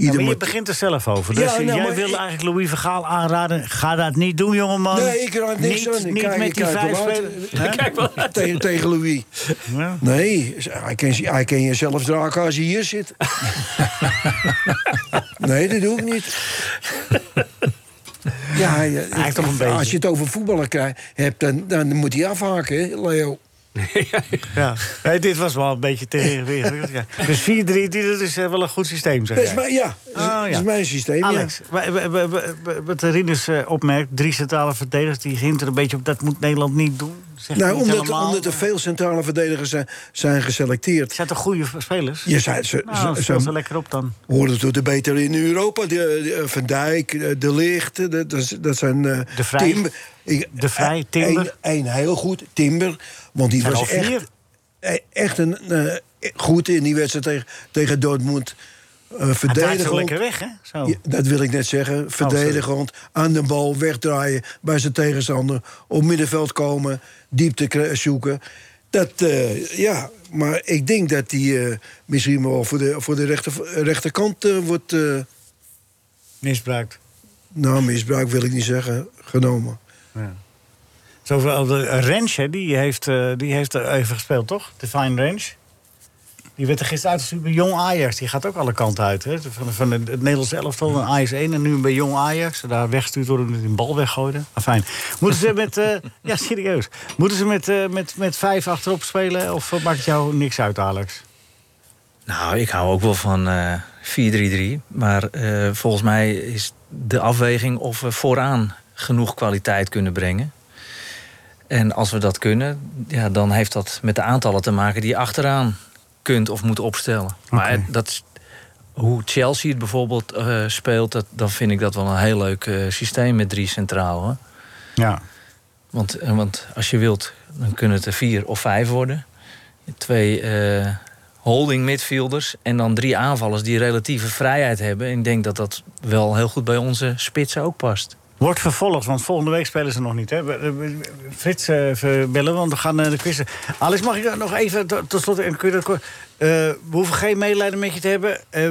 Ja, maar je
moet-
begint er zelf over. Dus
Ja, nou,
jij
maar
wil
ik-
eigenlijk Louis Vergaal aanraden. Ga dat niet doen, jongeman.
Nee, ik raad niks
niet,
aan. Ik
Niet
kijk- ik
met die
kijk
vijf
wel uit.
spelers.
Ik
Hè?
kijk wel uit. Tegen- tegen Louis. Nee, hij kan, hij kan jezelf draken als je hier zit. nee, dat doe ik niet. Ja, hij, eh,
heeft toch een beetje.
als je het over voetballen krijgt, hebt, dan, dan moet hij afhaken, hè, Leo.
Ja. Nee, dit was wel een beetje tegenwicht. Dus 4-3, die- dat is eh, wel een goed systeem, zeg
Dat is
jij.
mijn- Dus ja, dat is- dat is mijn systeem, ja.
Oh, Alex, wa- wa- wa- wa- wa- wat Rinus eh, opmerkt, drie centrale verdedigers... die hint er een beetje op, dat moet Nederland niet doen. Zegt
Nou,
niet
omdat,
helemaal.
omdat er veel centrale verdedigers zijn, zijn geselecteerd.
Zijn toch goede spelers?
Ja, ze, ze,
Nou,
ze-
stel
ze eh,
ze lekker op dan.
horen tot de betere in Europa. De, de- Van Dijk, eh, De Licht, eh, dat, dat- dat zijn... eh,
De Vrij.
Timber. Ik-
De Vrij,
eh,
Timber.
Eén één heel goed, Timber. Want die
Zijn
was
al vier.
echt, eh, echt een, eh, goed in die wedstrijd tegen, tegen Dortmund. Eh,
Hij draait
verdedigend.
zo lekker weg, hè? Zo. Oh,
Ja, dat wil ik net zeggen. Verdedigend, aan de bal, wegdraaien bij zijn tegenstander. Op middenveld komen, diepte kre- eh, zoeken. Dat, eh, ja, maar ik denk dat die eh, misschien wel voor de, voor de rechter, rechterkant eh, wordt... eh,
Misbruikt.
nou, misbruik wil ik niet zeggen, genomen.
Zoveel, de Rens, hè, die heeft, eh, die heeft er even gespeeld, toch? Divine Rens. Die werd er gisteren uitgestuurd bij Jong Ajax. Die gaat ook alle kanten uit. Hè? Van, van het het Nederlands elftal naar Ajax 1 en nu bij Jong Ajax. Daar weggestuurd worden omdat hij een bal weggooide. Maar fijn. Moeten ze met... eh, ja, serieus. Moeten ze met, eh, met, met vijf achterop spelen? Of eh, maakt het jou niks uit, Alex?
Nou, ik hou ook wel van eh 4-3-3. Maar eh, volgens mij is de afweging of we vooraan genoeg kwaliteit kunnen brengen. En als we dat kunnen, ja, dan heeft dat met de aantallen te maken die je achteraan kunt of moet opstellen. Maar het- dat, is- hoe Chelsea het bijvoorbeeld eh, speelt, dat, dan vind ik dat wel een heel leuk eh, systeem met drie centraal. Hoor.
Ja.
Want, eh, want als je wilt, dan kunnen het er vier of vijf worden. Twee eh, holding midfielders en dan drie aanvallers die relatieve vrijheid hebben. En ik denk dat dat wel heel goed bij onze spitsen ook past.
Wordt vervolgd, want volgende week spelen ze nog niet. Hè? We- we- we- Frits eh, even bellen, want we gaan eh, de quizzen. Alex, mag ik eh, nog even to- tot slot... en kun je dat kort- eh, we hoeven geen medelijden met je te hebben. eh,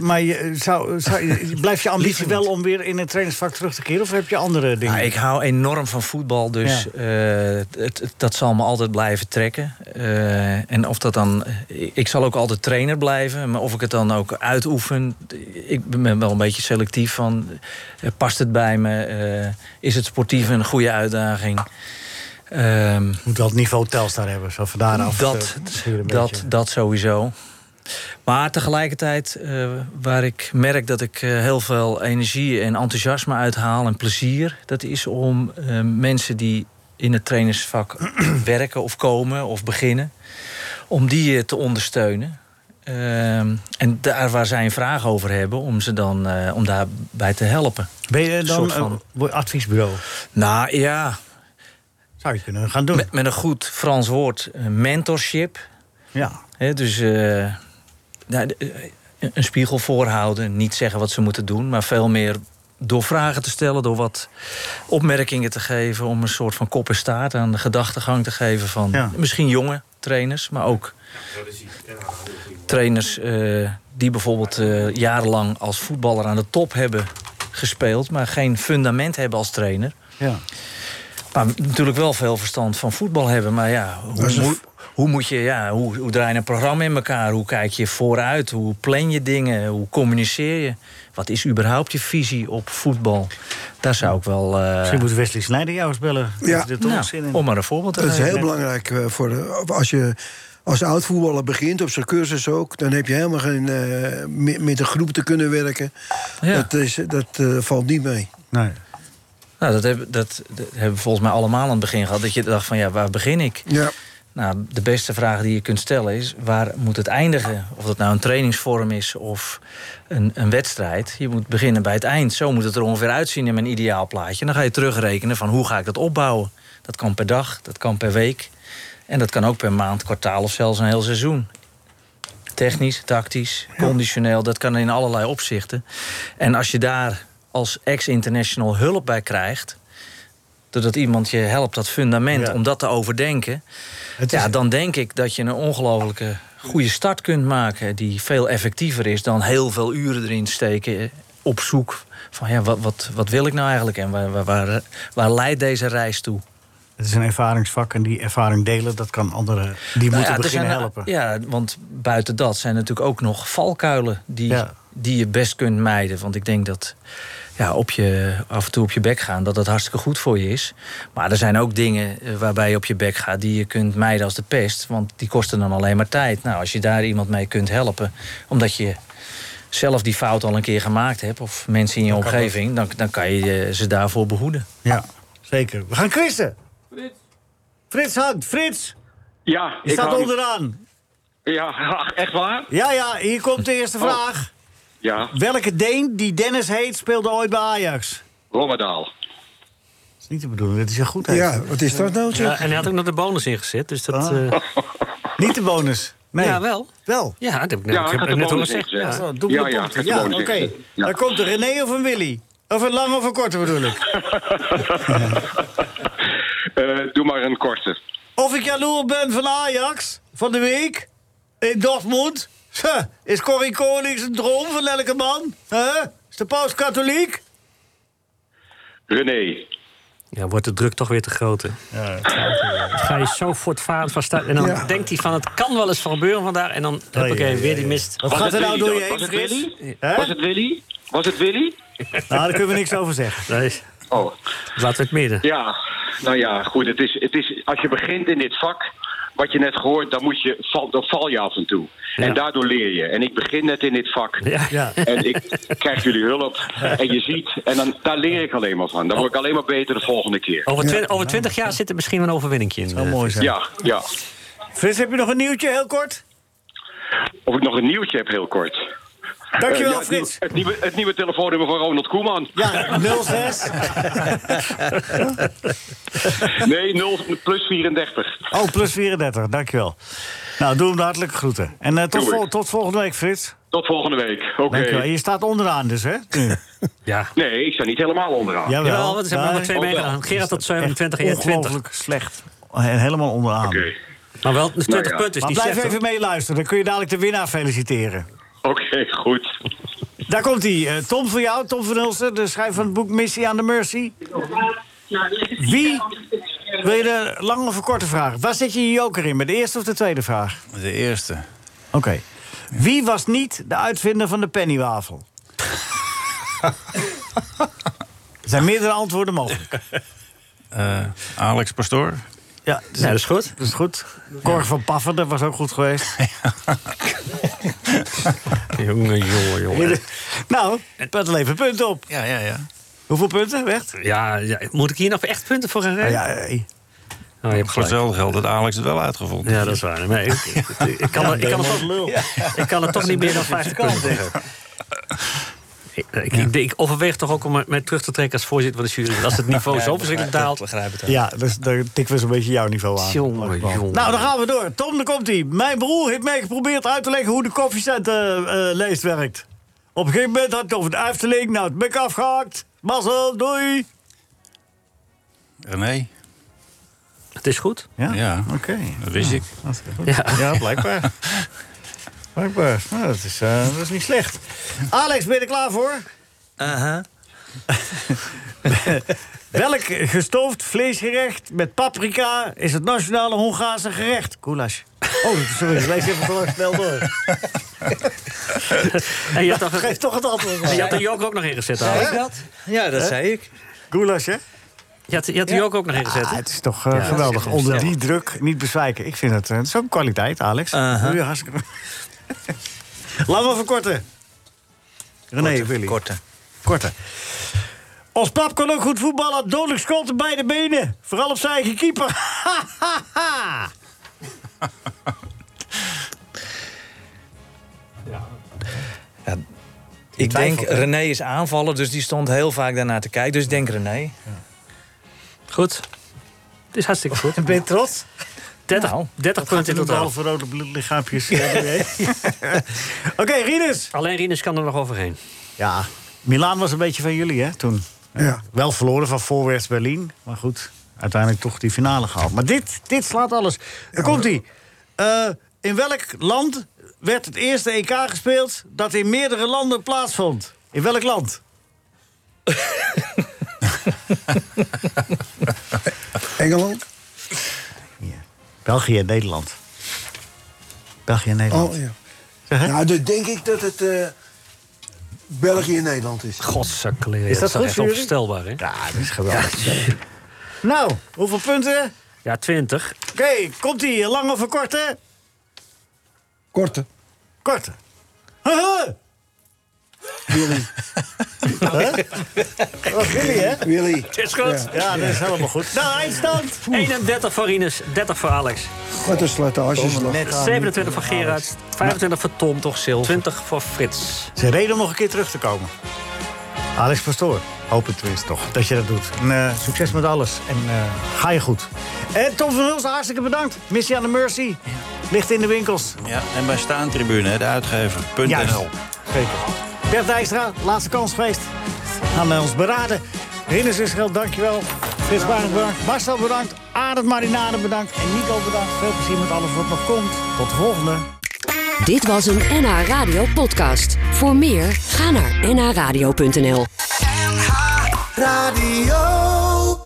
maar je, zou, zou, je- blijft je ambitie wel om weer in het trainingsvak terug te keren? Of heb je andere dingen?
Nou, ik hou enorm van voetbal, dus eh, het, het- dat zal me altijd blijven trekken. Eh, en of dat dan. eh, Ik zal ook altijd trainer blijven, maar of ik het dan ook uitoefen. Ik ben wel een beetje selectief van. eh, past het bij me? Eh, is het sportief een goede uitdaging? Ehm,
Moet wel het niveau Telstar hebben, zo van daaraf,
Dat,
eh, misschien een
dat,
beetje.
dat sowieso. Maar tegelijkertijd, eh, waar ik merk dat ik eh, heel veel energie en enthousiasme uithaal en plezier, dat is om eh, mensen die in het trainersvak werken of komen of beginnen, om die eh, te ondersteunen. Ehm, en daar waar zij een vraag over hebben, om ze dan eh, om daarbij te helpen.
Ben je
Een
dan
soort
een
van-
adviesbureau?
Nou ja.
Zou je kunnen gaan doen?
Met, met een goed Frans woord, eh, mentorship.
Ja.
Hè, dus eh, nou, de- eh, een- een spiegel voorhouden, niet zeggen wat ze moeten doen, maar veel meer door vragen te stellen, door wat opmerkingen te geven, om een soort van kop en staart aan de gedachtegang te geven van misschien jonge trainers, maar ook trainers eh, die bijvoorbeeld eh, jarenlang als voetballer aan de top hebben gespeeld, maar geen fundament hebben als trainer.
Ja.
Maar natuurlijk wel veel verstand van voetbal hebben. Maar ja,
Dat
hoe,
is een-
moet- hoe moet je, ja, hoe, hoe draai je een programma in elkaar? Hoe kijk je vooruit? Hoe plan je dingen? Hoe communiceer je? Wat is überhaupt je visie op voetbal? Daar zou ik wel. eh,
Misschien moet Wesley Snijder jou eens bellen.
Ja.
Heeft hij er toch
Nou,
nog zin in?
om maar een voorbeeld te
Dat is
geven.
heel belangrijk eh, voor de- als je als oud voetballer begint op zijn cursus ook, dan heb je helemaal geen eh, met- met een groep te kunnen werken. Dat, is, dat eh, valt niet mee.
Nee.
Nou, dat, heb, dat, dat hebben we volgens mij allemaal aan het begin gehad. Dat je dacht van ja, waar begin ik?
Ja.
Nou, de beste vraag die je kunt stellen is: waar moet het eindigen? Of dat nou een trainingsvorm is of een, een wedstrijd. Je moet beginnen bij het eind. Zo moet het er ongeveer uitzien in mijn ideaal plaatje. En dan ga je terugrekenen van hoe ga ik dat opbouwen. Dat kan per dag, dat kan per week. En dat kan ook per maand, kwartaal of zelfs een heel seizoen. Technisch, tactisch, conditioneel, dat kan in allerlei opzichten. En als je daar als ex-international hulp bij krijgt, doordat iemand je helpt dat fundament om dat te overdenken, ja, dan denk ik dat je een ongelofelijke goede start kunt maken... die veel effectiever is dan heel veel uren erin steken... eh, op zoek van ja, wat, wat, wat wil ik nou eigenlijk... en waar, waar, waar, waar leidt deze reis toe?
Het is een ervaringsvak en die ervaring delen, dat kan anderen. Die
Nou
moeten
ja, er
beginnen
zijn-
helpen.
Ja, want buiten dat zijn natuurlijk ook nog valkuilen die,
Ja.
die je best kunt mijden. Want ik denk dat ja, op je, af en toe op je bek gaan, dat dat hartstikke goed voor je is. Maar er zijn ook dingen eh, waarbij je op je bek gaat die je kunt mijden als de pest. Want die kosten dan alleen maar tijd. Nou, als je daar iemand mee kunt helpen, omdat je zelf die fout al een keer gemaakt hebt, of mensen in je
Dan kan
omgeving, dan, dan kan je eh, ze daarvoor behoeden.
Ja, zeker. We gaan quizzen. Frits hangt. Frits,
Ja,
je
ik
staat
hang.
onderaan.
Ja, ach, echt waar?
Ja, ja, hier komt de eerste vraag.
Ja,
Welke Deen die Dennis heet speelde ooit bij Ajax?
Rommedaal.
Dat is niet de bedoeling dat hij zo goed heeft.
Ja, wat is dat nou? zeg?
Ja, en hij had ook nog de bonus ingezet, dus dat...
Ah.
eh,
Niet de bonus. Nee.
Ja, wel.
Wel?
Ja, dat heb ik net, ik heb het net al gezegd. Ja.
Ja, doe ja, ja, ja oké. Dan komt er René of een Willy. Of een lange of een korte bedoel ik.
Eh, doe maar een korte.
Of ik jaloers ben van Ajax van de week in Dortmund. Huh, Is Corrie Konings een droom van elke man? Huh? Is de paus katholiek?
René.
Ja, wordt de druk toch weer te groot, hè? Dan ga je zo voortvarend van start. En dan denkt hij van, het kan wel eens gebeuren vandaag. En dan heb ik weer die mist.
Was het
nou
Willy dan? Was het Willy? Was het Willy? Was het Willy?
Nou, over zeggen.
Nee.
Oh.
Laten we het midden.
Ja, nou ja, goed. Het is, het is, als je begint in dit vak, wat je net gehoord, dan, moet je, val, dan val je af en toe. En daardoor leer je. En ik begin net in dit vak.
Ja.
En ik krijg jullie hulp. En je ziet. En dan, daar leer ik alleen maar van. Dan word ik alleen maar beter de volgende keer.
Over, twin- over twintig jaar zit er misschien wel een overwinningje in. eh,
mooi
Frits.
Ja, ja.
Frits, heb je nog een nieuwtje, heel kort?
Of ik nog een nieuwtje heb, heel kort.
Dankjewel,
Eh, ja, het nieuwe-
Frits.
Het nieuwe, het nieuwe telefoonnummer van Ronald Koeman.
Ja, 06.
nee, 0 plus 34.
Oh, plus 34, dankjewel. Nou, doe hem de hartelijke groeten. En eh, tot,
Doe ik.
vol- tot volgende week, Frits.
Tot volgende week. Oké.
Dankjewel. En Je staat onderaan dus, hè? Nu.
Ja.
Nee, ik sta niet helemaal onderaan.
Jawel.
Jawel, want ze hebben nog maar twee
Oh, wel.
meegedaan. Gerard tot 27 en
Echt
20.
Ongelooflijk slecht. En helemaal onderaan.
Maar wel 20
Maar
punten. is niet
blijf
slecht,
even
hoor.
meeluisteren, dan kun je dadelijk de winnaar feliciteren.
Oké, goed.
Daar komt hij. eh, Tom voor jou, Tom van Hulsen, de schrijver van het boek Missie aan de Mercy. Wie? Wil je de lange of een korte vraag? Waar zit je je joker in, met de eerste of de tweede vraag?
De eerste.
Oké. Wie was niet de uitvinder van de pennywafel? er zijn meerdere antwoorden mogelijk.
Eh, Alex Pastoor.
Ja,
Ja, dat is goed.
Dat is goed. Cor van Paffen, dat was ook goed geweest.
Jongen, jongen, jongen.
nou, pet al even punten op.
Ja, ja, ja.
Hoeveel punten, Wert?
Ja, ja, moet ik hier nog echt punten voor gaan rekenen?
ja,
Oh, je hebt
Voor
gelijk.
hetzelfde geld dat Alex het wel uitgevonden
Ja, dat is waar. Nee, ik, ik- ik- ik kan,
Ja,
het- ik, kan het
helemaal
toch, ik kan het toch niet meer dan 50 punten zeggen. Ik, ik, ik- ik overweeg toch ook om mij- mij terug te trekken als voorzitter van de jury. want Als het niveau zo verschrikkelijk daalt.
Ja, dus daar tikken we zo'n beetje jouw niveau aan.
Jongen, jongen.
Nou, dan gaan we door. Tom, daar komt hij. Mijn broer heeft mij geprobeerd uit te leggen hoe de koffiezet-leest werkt. Op een gegeven moment had ik over de Efteling, nou het bek afgehakt. Mazzel, doei.
René.
Het is goed.
Eh, Ja?
Ja.
Oké.
Dat wist ik.
Ja. ja, blijkbaar. blijkbaar. Nou, dat, is, eh, dat is niet slecht. Alex, ben je er klaar voor? Welk gestoofd vleesgerecht met paprika is het nationale Hongaarse gerecht? Goulash. Oh, sorry, ik lees even gewoon snel door.
En je had toch,
Geef toch het antwoord. maar.
je had er Joker ook nog ingezet.
Zei
Alex.
ik dat? Ja, dat zei
ik.
Goulash, hè?
Je had, je had er Joker ook nog ingezet. hè?
het is toch eh,
Ja,
geweldig.
dat is echt
Onder
een
die druk niet bezwijken. Ik vind het, eh, het is ook een kwaliteit, Alex.
Uh-huh.
Doe je hartstikke... Lang of een korte? René,
Korte,
Willy.
korte.
Korte. Ons pap kon ook goed voetballen. Dodelijk schot op beide benen. Vooral op zijn eigen keeper.
Ik denk,
twijfelt, hè?
René is aanvaller, dus die stond heel vaak daarnaar te kijken. Dus ik denk René.
Goed. Het is hartstikke goed.
ben je trots?
30,
Nou,
30 punten in totaal.
voor rode eh, bloedlichaampjes. Oké, Rinus.
Alleen Rinus kan er nog overheen.
Ja, Milaan was een beetje van jullie, hè, toen.
Ja.
Wel verloren van voorwärts Berlin. Maar goed, uiteindelijk toch die finale gehaald. Maar dit, dit slaat alles. Daar komt-ie. Eh, In welk land werd het eerste EK gespeeld dat in meerdere landen plaatsvond? In welk land?
Engeland?
België en Nederland. België en Nederland.
Oh ja. Nou, dan denk ik dat het eh, België en Nederland is.
Godsakkeleer.
Is dat goed,
echt
jury?
onvoorstelbaar, hè?
Ja, dat is geweldig. Nou, hoeveel punten?
Ja, 20.
Oké, komt ie. Lang of een korte?
Korte.
Korte. Haha.
Willy.
Oh. Dat was Willy, hè?
Willy.
Het is goed.
Ja, dat is helemaal goed. Nou, eindstand.
31 voor Ines, 30 voor Alex.
Wat een slijtage is dat?
27 voor Gerard, 25 voor Tom, toch Sil. 20 voor Frits.
Ze reden om nog een keer terug te komen. Alex Pastoor, hoop het tenminste toch dat je dat doet. En, eh, succes met alles en eh, ga je goed. En Tom van Hulsen, hartstikke bedankt. Missie aan de Mercy. Ligt in de winkels.
Ja, en bij Staantribune, hè, de uitgever. Punt
Juist.
NL.
Zeker. Bert Dijkstra, laatste kans geweest. Gaan wij ons beraden. Rinus Israël, dankjewel. Frits Barend, bedankt. Marcel, bedankt. Arend Marinade, bedankt. En Nico, bedankt. Veel plezier met alles wat nog komt. Tot de volgende.
Dit was een NH Radio podcast. Voor meer, ga naar nhradio.nl.
Radio.